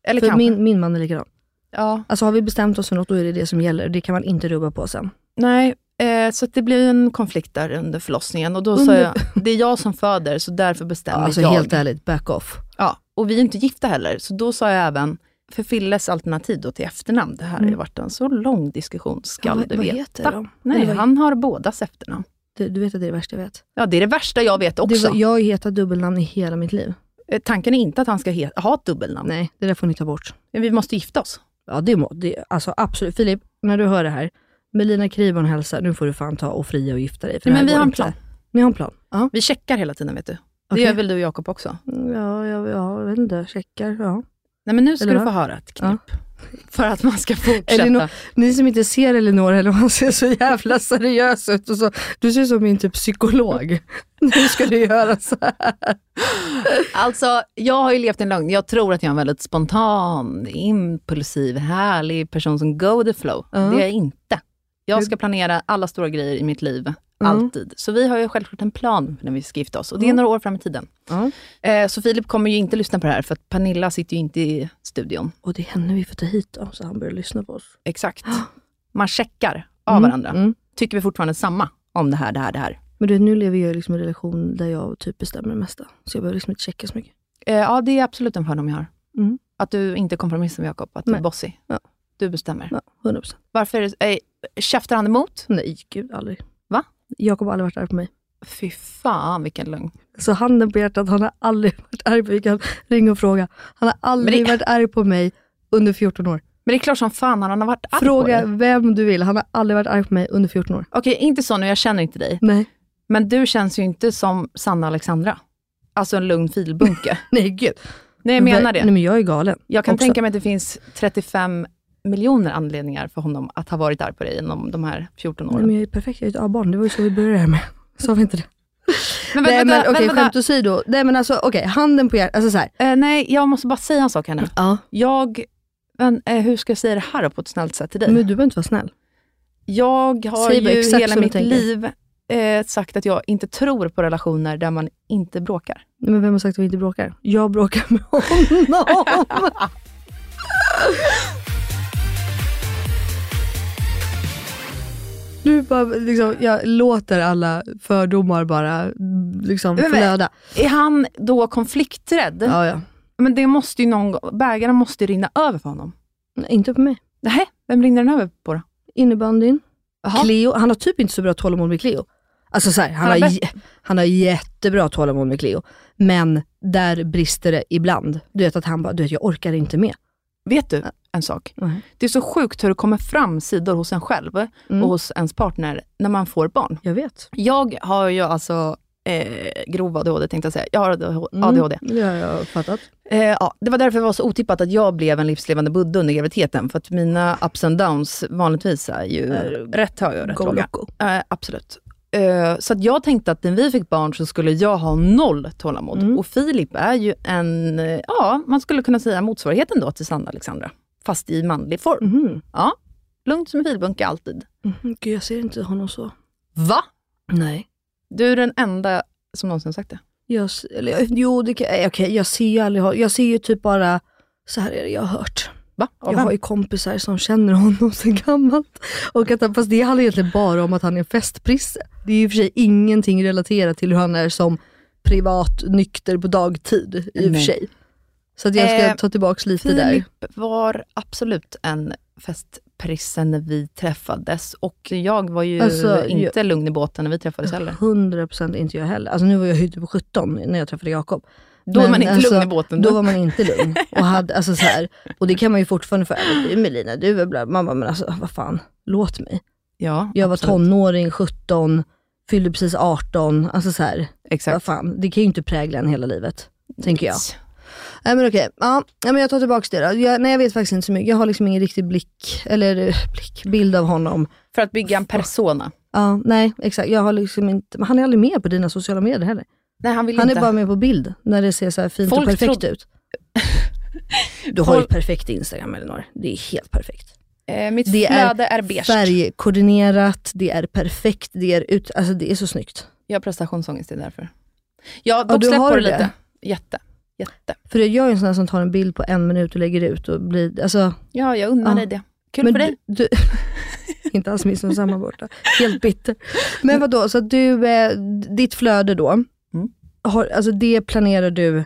C: Eller
D: För
C: kanske.
D: min, min man är likadan.
C: Ja,
D: Alltså har vi bestämt oss för något, då är det det som gäller. Det kan man inte rubba på sen.
C: nej, eh, så att det blev en konflikt där under förlossningen. Och då sa
D: Under-
C: jag, det är jag som föder, så därför bestämmer
D: alltså
C: jag.
D: helt ärligt, back off.
C: ja, och vi är inte gifta heller, så då sa jag även, för Filles alternativ då till efternamn, det här har ju varit en så lång diskussion, ska
D: Mm. Ja, vad-
C: du
D: vad
C: veta.
D: heter de?
C: Nej,
D: Eller vad-
C: han har bådas efternamn.
D: Du, du vet att det är det värsta jag vet.
C: Ja, det är det värsta jag vet
D: Det
C: också.
D: var, jag har ju hetat dubbelnamn i hela mitt liv.
C: Eh, Tanken är inte att han ska he- ha ett dubbelnamn.
D: Nej, det där får ni ta bort.
C: Men Vi måste gifta oss.
D: Ja, det må, det, alltså absolut. Filip, när du hör det här, Melina Kribon hälsar, nu får du fan ta och fria och gifta dig. för
C: Nej,
D: det här
C: men vi
D: går
C: har en
D: inte.
C: plan.
D: Ni har en plan? Ja.
C: Vi checkar hela tiden, vet du. Det
D: Okej.
C: gör väl du och Jakob också?
D: Ja, jag, ja, jag vet inte. Checkar. Ja.
C: Nej men nu ska
D: Eller
C: du
D: va?
C: få höra ett knep. För att man ska fortsätta.
D: Elinor- Ni som inte ser Elinor, eller hon ser så jävla seriös ut. Och så, du ser ut som min typ psykolog. nu ska du göra så här.
C: Alltså, jag har ju levt en lögn. Jag tror att jag är en väldigt spontan, impulsiv, härlig person som go with the flow.
D: Ja.
C: Det är jag inte. Jag ska planera alla stora grejer i mitt liv, alltid. Så vi har ju självklart en plan för när vi ska gifta oss. Och det är
D: Ja.
C: några år fram i tiden.
D: Ja.
C: Eh, så Filip kommer ju inte lyssna på det här, för att Pernilla sitter ju inte i studion.
D: Och det är henne vi får ta hit då, så han börjar lyssna på oss.
C: Exakt. Man checkar av
D: Mm,
C: varandra.
D: mm.
C: Tycker vi fortfarande samma om det här, det här, det här?
D: Men du vet, nu lever jag liksom i en relation där jag typ bestämmer det mesta. Så jag behöver liksom inte checka så mycket.
C: Eh, ja, det är absolut en fördom jag har.
D: Mm.
C: Att du inte kompromissar med Jakob, att du
D: Nej.
C: är bossig.
D: Ja.
C: Du bestämmer.
D: Ja, 100%.
C: Varför är det, eh, käftar han emot?
D: Nej, gud aldrig.
C: Va?
D: Jakob har aldrig varit arg på mig.
C: Fy fan vilken lögn.
D: Så handen på hjärtat, han har aldrig varit arg på mig. Vi kan ringa och fråga. Han har aldrig
C: Men det-
D: varit arg på mig under 14 år.
C: Men det är klart som fan han har varit arg
D: Fråga
C: på dig.
D: vem du vill, han har aldrig varit arg på mig under 14 år.
C: Okej, inte så nu, jag känner inte dig.
D: Nej,
C: Men du känns ju inte som Sanna Alexandra. Alltså en lugn filbunke.
D: nej gud.
C: Nej, jag menar det.
D: Nej men jag är galen.
C: Jag kan
D: också.
C: tänka mig att det finns 35 miljoner anledningar för honom att ha varit arg på dig inom de här 14
D: Nej,
C: åren.
D: men jag är perfekt, jag är ett A-barn. Det var ju så vi började det här med. Sa vi inte det?
C: Men vänta,
D: nej men
C: vänta,
D: okej,
C: vänta.
D: skämt åsido. Nej men alltså okej, handen på hjärtat. Alltså såhär.
C: Eh, nej, jag måste bara säga en sak här nu.
D: Ja.
C: Jag, men, eh, hur ska jag säga det här då på ett snällt sätt till dig?
D: Men du behöver inte vara snäll.
C: jag har
D: Säg bara
C: ju
D: exakt
C: hela
D: som du
C: mitt
D: tänker.
C: liv eh, sagt att jag inte tror på relationer där man inte bråkar.
D: Nej, men vem har sagt att vi inte bråkar? Jag bråkar med honom. Nu bara, liksom, jag låter alla fördomar bara liksom,
C: Men-
D: flöda.
C: Är han då konflikträdd?
D: Ja, ja.
C: Men det måste ju någon gång, bägaren måste ju rinna över för honom.
D: Nej, inte på mig.
C: Nej, vem rinner den över på då?
D: Innebandyn.
C: Jaha.
D: Cleo. Han har typ inte så bra tålamod med Cleo. Alltså så här, han,
C: Han har
D: har
C: bäst-
D: jä- han har jättebra tålamod med Cleo, men där brister det ibland. Du vet att han bara, du vet jag orkar inte med.
C: Vet du en sak?
D: Nej.
C: Det är så sjukt hur det kommer fram sidor hos en själv
D: Mm.
C: och hos ens partner när man får barn.
D: Jag vet.
C: Jag har ju alltså eh, grov ADHD tänkte jag säga. Jag har ADHD.
D: Det har Mm. jag fattat.
C: Eh, ja, det var därför det var så otippat att jag blev en livslevande buddha under graviditeten. För att mina ups and downs vanligtvis är ju Eh, rätt höga och rätt
D: Go
C: låga.
D: loco.
C: Eh, absolut. Eh, så att jag tänkte att när vi fick barn så skulle jag ha noll tålamod. Och Filip är ju en, eh, ja man skulle kunna säga motsvarigheten då till Sanna Alexandra. Fast i manlig form.
D: Mhm.
C: Ja, lugnt som en filbunke alltid.
D: Mhm, Gud, jag ser inte honom så.
C: Va?
D: Nej.
C: Du är den enda som någonsin sagt det.
D: Jag, s- eller, jag- jo, det kan, eh, okej, jag ser ju aldrig hon- Jag ser ju typ bara, så här är det jag har hört.
C: Va? Av
D: Jag har
C: vem?
D: ju kompisar som känner honom sedan gammalt. Och att, han- fast det handlar egentligen bara om att han är en festprisse. Det är ju i och för sig ingenting relaterat till hur han är som privat nykter på dagtid i och för
C: Nej.
D: sig. Så att jag ska
C: Eh,
D: ta tillbaka lite där.
C: Filip var absolut en festprisse när vi träffades. Och jag var ju
D: Alltså, Ah,
C: inte lugn i båten när vi träffades heller.
D: 100% inte jag heller. Alltså nu var jag ju typ 17 när jag träffade Jakob.
C: Då var
D: Men
C: man inte
D: alltså,
C: lugn i båten.
D: Då var man inte lugn. Och, hade, alltså, Äh, så här, och det kan man ju fortfarande få, "Ja, men du Melina, du är bla. Man bara, men alltså vad fan, låt mig.
C: Ja,
D: Jag var
C: absolut.
D: tonåring, 17, fyllde precis 18. Alltså så här, vad
C: Exakt.
D: fan, det kan ju inte prägla en hela livet, tänker jag. Nej men okej, ja, ja, men jag tar tillbaka det då. Jag, nej jag vet faktiskt inte så mycket. Jag har liksom ingen riktig blick, eller eh, blick, bild av honom.
C: För att bygga en persona.
D: Ja, nej exakt, jag har liksom inte, men han är aldrig med på dina sociala medier heller.
C: Nej, han vill
D: Han är
C: inte.
D: bara med på bild när det ser så här fint och
C: Folk
D: perfekt
C: trodde-
D: ut. Du har ju
C: Folk-
D: perfekt Instagram Elinor, det är helt perfekt.
C: Eh, mitt
D: Det är
C: flöde är, beige.
D: Färgkoordinerat, det är perfekt, det är ut, alltså det är så snyggt.
C: Jag har prestationsångest, det är därför. Jag har
D: Ja,
C: dock
D: du
C: släppt
D: har
C: på det
D: det.
C: lite. Jätte. Jätte.
D: För jag är en sån här som tar en bild på en minut och lägger ut och blir, alltså.
C: Ja, jag unnar
D: Ja.
C: dig det. Kul
D: men
C: för dig.
D: Du, du, inte alls minst som samma borta, helt bitter.
C: Mm.
D: Men vadå, så att du, eh, ditt flöde då, har, alltså det planerar du,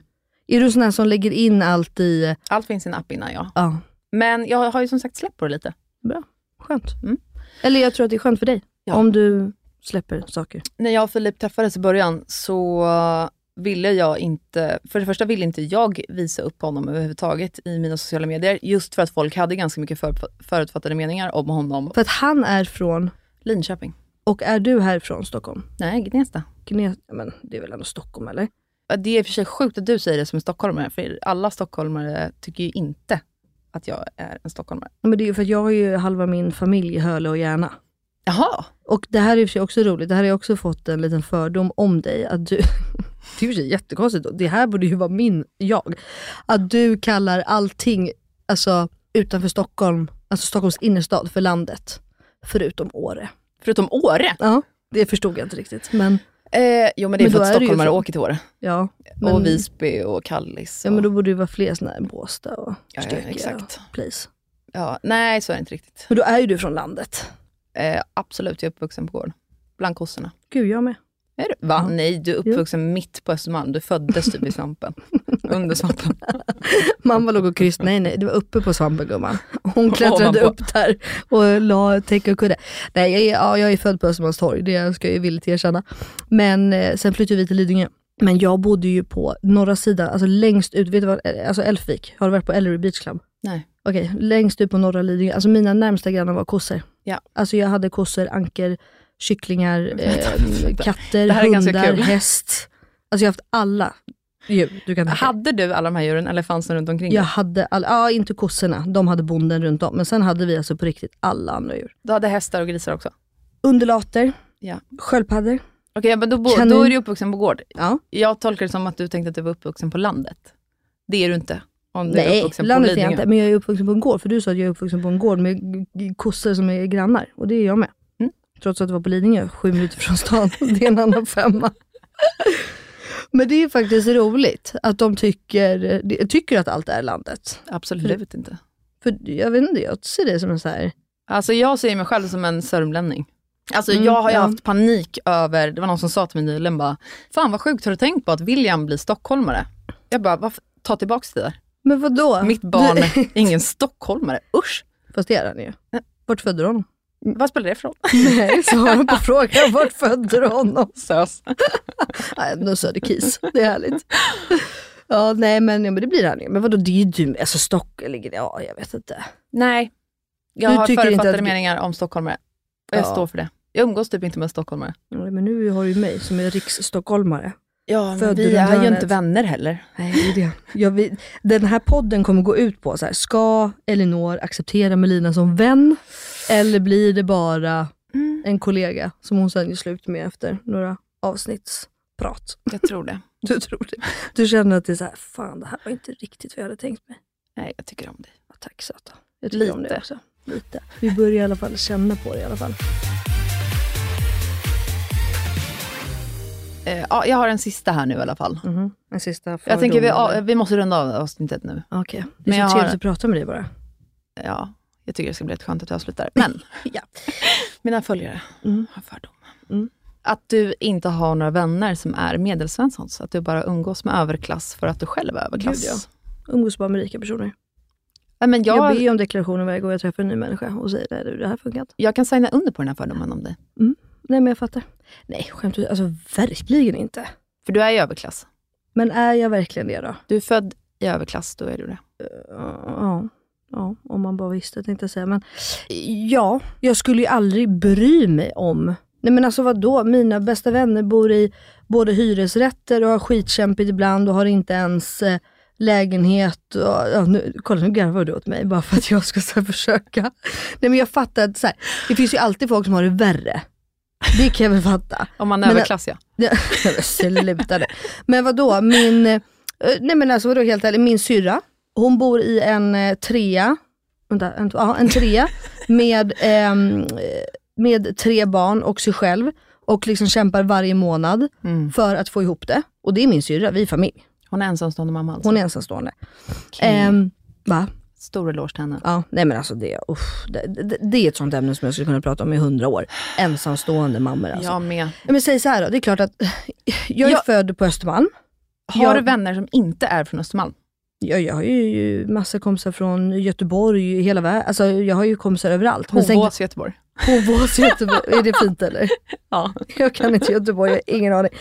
D: är du sån här som lägger in allt i,
C: Allt finns i en app innan jag.
D: ja,
C: Men jag har ju som sagt släppt på det lite.
D: skönt.
C: Mm.
D: Eller jag tror att det är skönt för dig,
C: Ja.
D: om du släpper saker.
C: När jag och Filip träffades i början så ville jag inte, för det första ville inte jag visa upp honom överhuvudtaget i mina sociala medier, just för att folk hade ganska mycket för, förutfattade meningar om honom.
D: För att han är från,
C: Linköping.
D: och är du härifrån Stockholm?
C: Nej, Gnesta.
D: Gnes, ja, men det är väl ändå Stockholm eller?
C: Ja, Det är i och för sig sjukt att du säger det som en stockholmare, för alla stockholmare tycker ju inte att jag är en stockholmare.
D: Ja, Men det är ju för att jag har ju halva min familj i Hölö och Järna.
C: Jaha!
D: Och det här är i och för sig också roligt, det här har jag också fått en liten fördom om dig. Att du, det är i och för sig jättekonstigt, och det här borde ju vara min jag. Att du kallar allting alltså, utanför Stockholm, alltså Stockholms innerstad för landet. Förutom Åre.
C: Förutom Åre.
D: Ja, det förstod jag inte riktigt. Men,
C: Eh, jo men det är
D: Men
C: för
D: då
C: att
D: är det ju
C: stockholmare
D: så.
C: åker till Åre.
D: ja, men,
C: Och Visby och Kallis. Och,
D: ja, men då borde det ju vara fler sådana här Båstad och
C: Ja, ja,
D: Stöke och
C: exakt.
D: place.
C: ja, nej, så är det inte riktigt.
D: Men då är ju du från landet.
C: Eh, absolut, jag är uppvuxen på gården. Bland kossorna.
D: Gud, jag med.
C: Är du? Va?
D: Ja.
C: Nej, du är uppvuxen mitt på Östermalm. Du föddes typ i svampen. Under svampen.
D: Mamma låg och kryss, nej nej, det var uppe på svampen gumman. Hon klättrade
C: Ovanpå.
D: upp där och la täcke och kudde. Nej, jag är, ja, jag är född på Östermalmstorg, det ska jag ju villigt erkänna. Men eh, sen flyttade vi till Lidingö. Men jag bodde ju på norra sidan, alltså längst ut, vet du vad, eh, alltså Älvsvik. Har du varit på Ellery Beach Club?
C: Nej.
D: Okej, längst ut på norra Lidingö. Alltså mina närmsta grannar var kossor.
C: Ja.
D: Alltså jag hade kossor, anker, kycklingar,
C: Vänta,
D: eh,
C: vänta.
D: katter,
C: Det här är ganska
D: hundar,
C: kul.
D: häst. Alltså jag har haft alla djur du kan tänka dig.
C: Hade du alla de här djuren eller fanns de runt omkring
D: Jag
C: dig?
D: hade, all, ja inte kossorna, de hade bonden runt om. Men sen hade vi alltså på riktigt alla andra djur.
C: Du hade hästar och grisar också?
D: Undulater,
C: Ja.
D: sköldpaddor.
C: Okej, men då, bo,
D: Kanin.
C: då är du uppvuxen på gård.
D: Ja.
C: Jag tolkar det som att du tänkte att du var uppvuxen på landet. Det är du inte. Om du är
D: Nej,
C: uppvuxen på
D: landet är jag
C: Lidingö.
D: inte. Men jag är uppvuxen på en gård, för du sa att jag är uppvuxen på en gård med g- g- kossor som är grannar. Och det är jag med.
C: Mm.
D: Trots att det var på Lidingö, sju minuter från stan. det är en annan femma. Men det är ju faktiskt roligt att de tycker, de tycker att allt är landet.
C: Absolut inte.
D: För jag vet inte, jag ser det som en så här...
C: Alltså jag ser mig själv som en sörmlänning. Alltså
D: Mm,
C: jag har ju
D: ja.
C: haft panik över, det var någon som sa till mig nyligen bara, fan vad sjukt, har du tänkt på att William blir stockholmare? Jag bara, varför? ta tillbaks det där.
D: Men vadå?
C: Mitt barn är ingen stockholmare, usch.
D: Fast det är han ju. Vart födde du honom?
C: Vad spelar det för roll?
D: Nej, svara på frågan. Vart födde du honom?
C: Sös.
D: Nej, ändå Söderkis. Det är härligt. Ja, nej men, ja, men det blir han ju. Men vadå, det är ju du. Alltså Stockholm, ligger det- ja jag vet inte.
C: Nej, jag
D: Du
C: har
D: tycker inte
C: förutfattade
D: att-
C: meningar om stockholmare. Och jag
D: Ja.
C: står för det. Jag umgås typ inte med stockholmare.
D: Ja, Men nu har du ju mig som är riksstockholmare.
C: Ja,
D: Född runt hörnet.
C: vänner heller.
D: Nej, det är det. Jag, vet- den här podden kommer gå ut på så här, ska Elinor acceptera Melina som vän? Eller blir det bara en kollega som hon sen gör slut med efter några avsnittsprat?
C: Jag tror det.
D: Du tror det? Du känner att det är så här, fan det här var inte riktigt vad jag hade tänkt mig.
C: Nej, jag tycker om dig.
D: Ja, Tack söta. Jag tycker om
C: Lite.
D: det också. Lite. Vi börjar i alla fall känna på det i alla fall.
C: Eh, ja, jag har en sista här nu i alla fall.
D: En sista fördom.
C: Jag tänker vi, ja,
D: eller?
C: vi måste runda av avsnittet nu.
D: Okej. Det
C: Men
D: är
C: jag
D: så
C: har-
D: trevligt att prata med dig bara.
C: ja, jag tycker det ska bli rätt skönt att vi avslutar. Men,
D: Ja.
C: mina följare har fördom.
D: Mm.
C: Att du inte har några vänner som är medelsvenssons, att du bara umgås med överklass för att du själv är överklass.
D: Gud, Umgås bara med rika personer.
C: Nej, men jag,
D: Jag ber
C: jag,
D: ju om deklarationer varje gång jag träffar en ny människa och säger nej du, det här funkar inte.
C: kan signa under på den här fördomen om dig.
D: Nej men jag fattar. Nej skämt ut, alltså verkligen inte.
C: För du är ju överklass.
D: Men är jag verkligen det då?
C: Du är född i överklass, då är du det.
D: Ja. ja. Ja, om man bara visste tänkte jag säga. Men, ja, jag skulle ju aldrig bry mig om... Nej men alltså då? mina bästa vänner bor i både hyresrätter och har skitkämpigt ibland och har inte ens eh, lägenhet. Och, ja, nu, kolla nu garvar du åt mig bara för att jag ska så här, försöka. Nej men jag fattar att så här, det finns ju alltid folk som har det värre. Det kan jag väl fatta.
C: Om man är
D: Men-
C: överklass ja.
D: Ja, nej, men Sluta det. Men vadå, min, eh, nej men alltså vadå helt ärligt, min syrra, hon bor i en eh, trea, vänta, en, ja, en trea med, ehm, eh, med tre barn och sig själv och liksom kämpar varje månad
C: Mm.
D: för att få ihop det. Och det är min syrra, vi är familj.
C: Hon är ensamstående mamma alltså.
D: Hon är ensamstående.
C: Okej.
D: Ehm, va?
C: Stor eloge till henne.
D: Ja, nej men alltså det, uff, det, det, det är ett sånt ämne som jag skulle kunna prata om i hundra år. Ensamstående mammor alltså.
C: Jag med.
D: Ja, Men säg så här då, det är klart att jag är
C: Jag-
D: född på Östermalm.
C: Har
D: Jag-
C: du vänner som inte är från Östermalm?
D: Jag, jag har ju massa kompisar från Göteborg, hela världen. Alltså, jag har ju kompisar överallt. Men sen-
C: Hovås, Göteborg.
D: Hovås, Göteborg. Är det fint eller?
C: Ja.
D: Jag kan inte Göteborg, jag har ingen aning.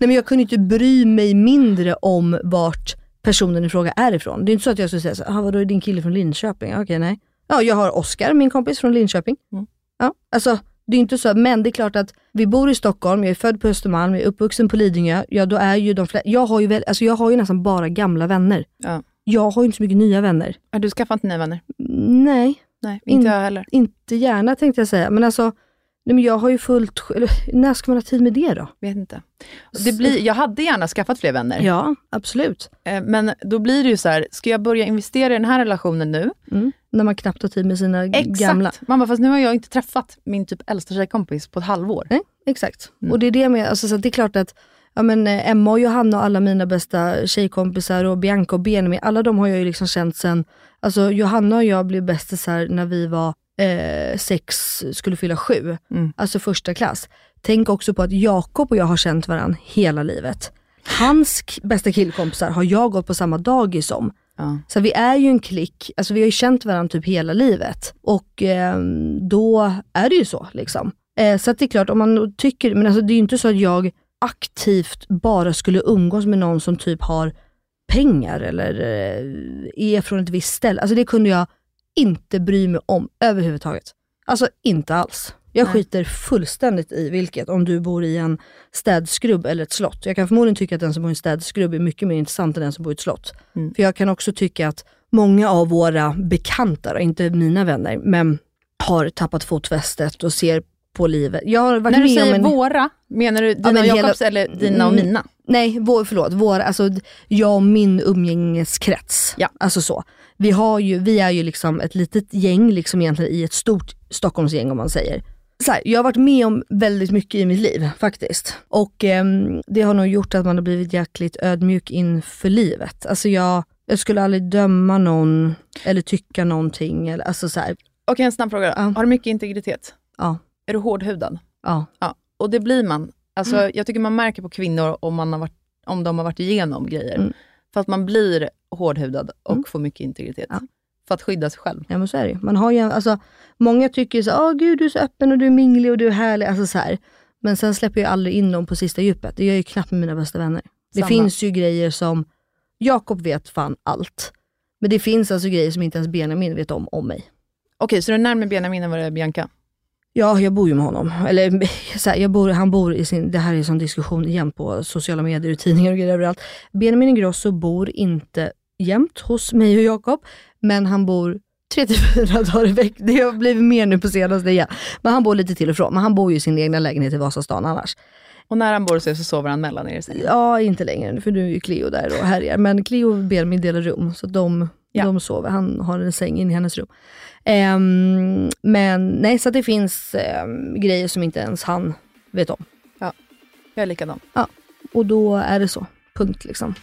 D: Nej, men jag kunde inte bry mig mindre om vart personen i fråga är ifrån. Det är inte så att jag skulle säga så, ah, vadå är din kille från Linköping? Okej, nej. Ja, jag har Oskar, min kompis från Linköping.
C: Mm.
D: Ja, alltså, det är inte så, men det är klart att vi bor i Stockholm, jag är född på Östermalm, jag är uppvuxen på Lidingö. Ja, då är ju de flesta, jag, har ju väl, alltså, jag har ju nästan bara gamla vänner.
C: Ja.
D: Jag har ju inte så mycket nya vänner.
C: Har du skaffat nya vänner?
D: Nej.
C: Nej, inte
D: In-
C: jag heller.
D: Inte gärna tänkte jag säga, men alltså, nej men jag har ju fullt sj- eller, När ska man ha tid med det då?
C: Vet inte. Det blir, jag hade gärna skaffat fler vänner,
D: Ja, absolut.
C: Eh, men då blir det ju så här, ska jag börja investera i den här relationen nu?
D: När man knappt har tid med sina
C: Exakt!
D: gamla.
C: Mamma, fast nu har jag inte träffat min typ äldsta tjejkompis på ett halvår.
D: Nej, exakt.
C: Mm.
D: Och det är det med, alltså, så att det är klart att ja, men, eh, Emma och Johanna och alla mina bästa tjejkompisar och Bianca och Benjamin, alla de har jag ju liksom känt sen, alltså Johanna och jag blev bästisar när vi var eh, sex, skulle fylla sju,
C: Mm.
D: alltså första klass. Tänk också på att Jakob och jag har känt varandra hela livet. Hans k- bästa killkompisar har jag gått på samma dagis som.
C: Ja.
D: Så vi är ju en klick, alltså vi har ju känt varandra typ hela livet. Och ehm, då är det ju så. liksom. Eh, så att det är klart, om man tycker, men alltså det är ju inte så att jag aktivt bara skulle umgås med någon som typ har pengar eller eh, är från ett visst ställe. Alltså det kunde jag inte bry mig om överhuvudtaget. Alltså inte alls. Jag
C: Nej.
D: skiter fullständigt i vilket, om du bor i en städskrubb eller ett slott. Jag kan förmodligen tycka att den som bor i en städskrubb är mycket mer intressant än den som bor i ett slott.
C: Mm.
D: För jag kan också tycka att många av våra bekanta, då, inte mina vänner, men har tappat fotfästet och ser på livet. Jag har varit
C: När du
D: med om
C: säger
D: en...
C: våra, menar du dina
D: men
C: och
D: hela-
C: Jakobs eller dina och
D: Mm.
C: mina?
D: Nej, vår, förlåt. Vår, alltså, d- jag och min umgängeskrets.
C: Ja.
D: Alltså så. Vi, har ju, vi är ju liksom ett litet gäng liksom egentligen i ett stort Stockholmsgäng om man säger. Så här, jag har varit med om väldigt mycket i mitt liv faktiskt. Och ehm, det har nog gjort att man har blivit jäkligt ödmjuk inför livet. Alltså jag, jag skulle aldrig döma någon eller tycka någonting. Eller, alltså så här,
C: Okej, en snabb fråga då.
D: Ja.
C: Har du mycket integritet?
D: ja,
C: Är du hårdhudad?
D: ja.
C: Ja, och det blir man. Alltså,
D: Mm.
C: Jag tycker man märker på kvinnor om, man har varit, om de har varit igenom grejer.
D: Mm.
C: För att man blir hårdhudad och
D: Mm.
C: får mycket integritet.
D: Ja.
C: För att skydda sig själv.
D: Ja men så är det ju. Man har ju, alltså, många tycker ju så åh gud du är så öppen och du är minglig och du är härlig. Alltså, så här. Men sen släpper jag aldrig in dem på sista djupet. Det gör jag ju knappt med mina bästa vänner.
C: Samma.
D: Det finns ju grejer som, Jakob vet fan allt. Men det finns alltså grejer som inte ens Benjamin vet om, om mig.
C: Okej, så du är närmare Benjamin än vad det är Bianca?
D: Ja, jag bor ju med honom. Eller så här, jag bor, han bor i sin, det här är en sån diskussion igen på sociala medier och tidningar och grejer överallt. Benjamin Ingrosso bor inte jämt hos mig och Jakob, men han bor 34 dagar i veckan. Det har blivit mer nu på senaste igen. Men han bor lite till och från. Men han bor ju i sin egna lägenhet i Vasastan annars.
C: Och när han bor så, så sover han mellan er i sängen.
D: Ja, inte längre för nu är ju Cleo där och härjar. Men Cleo och Benjamin delar rum, så de,
C: Ja.
D: de sover. Han har en säng in i hennes rum. Ehm, men nej, så att det finns ehm, grejer som inte ens han vet om.
C: Jag är likadan.
D: Och då är det så. Punkt liksom.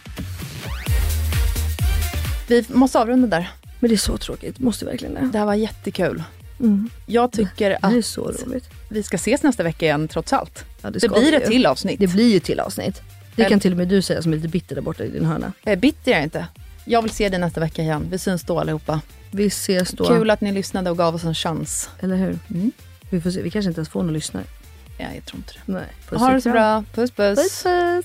C: Vi måste avrunda där.
D: Men det är så tråkigt, måste verkligen det.
C: Det här var jättekul.
D: Mm.
C: Jag tycker
D: Det här är
C: att
D: så roligt.
C: vi ska ses nästa vecka igen trots allt.
D: Ja,
C: Det,
D: ska
C: blir
D: vi
C: ett
D: ju.
C: till avsnitt.
D: Det blir ju ett till avsnitt. Det
C: Eller-
D: kan till och med du säga som är lite bitter där borta i din hörna.
C: Eh, Bitter är jag inte. Jag vill se dig nästa vecka igen. Vi syns då allihopa.
D: Vi ses då.
C: Kul att ni lyssnade och gav oss en chans.
D: Eller hur?
C: Mm.
D: Vi får se, vi kanske inte ens får någon lyssnare.
C: Ja, jag tror inte det.
D: Nej, Mm. puss
C: Ha
D: och
C: det så
D: kram.
C: bra. Puss puss.
D: Puss puss.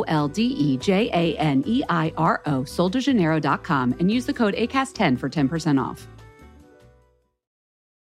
A: L D E J A N E I R O, soldejaneiro.com, and use the code ACAST10 for 10% off.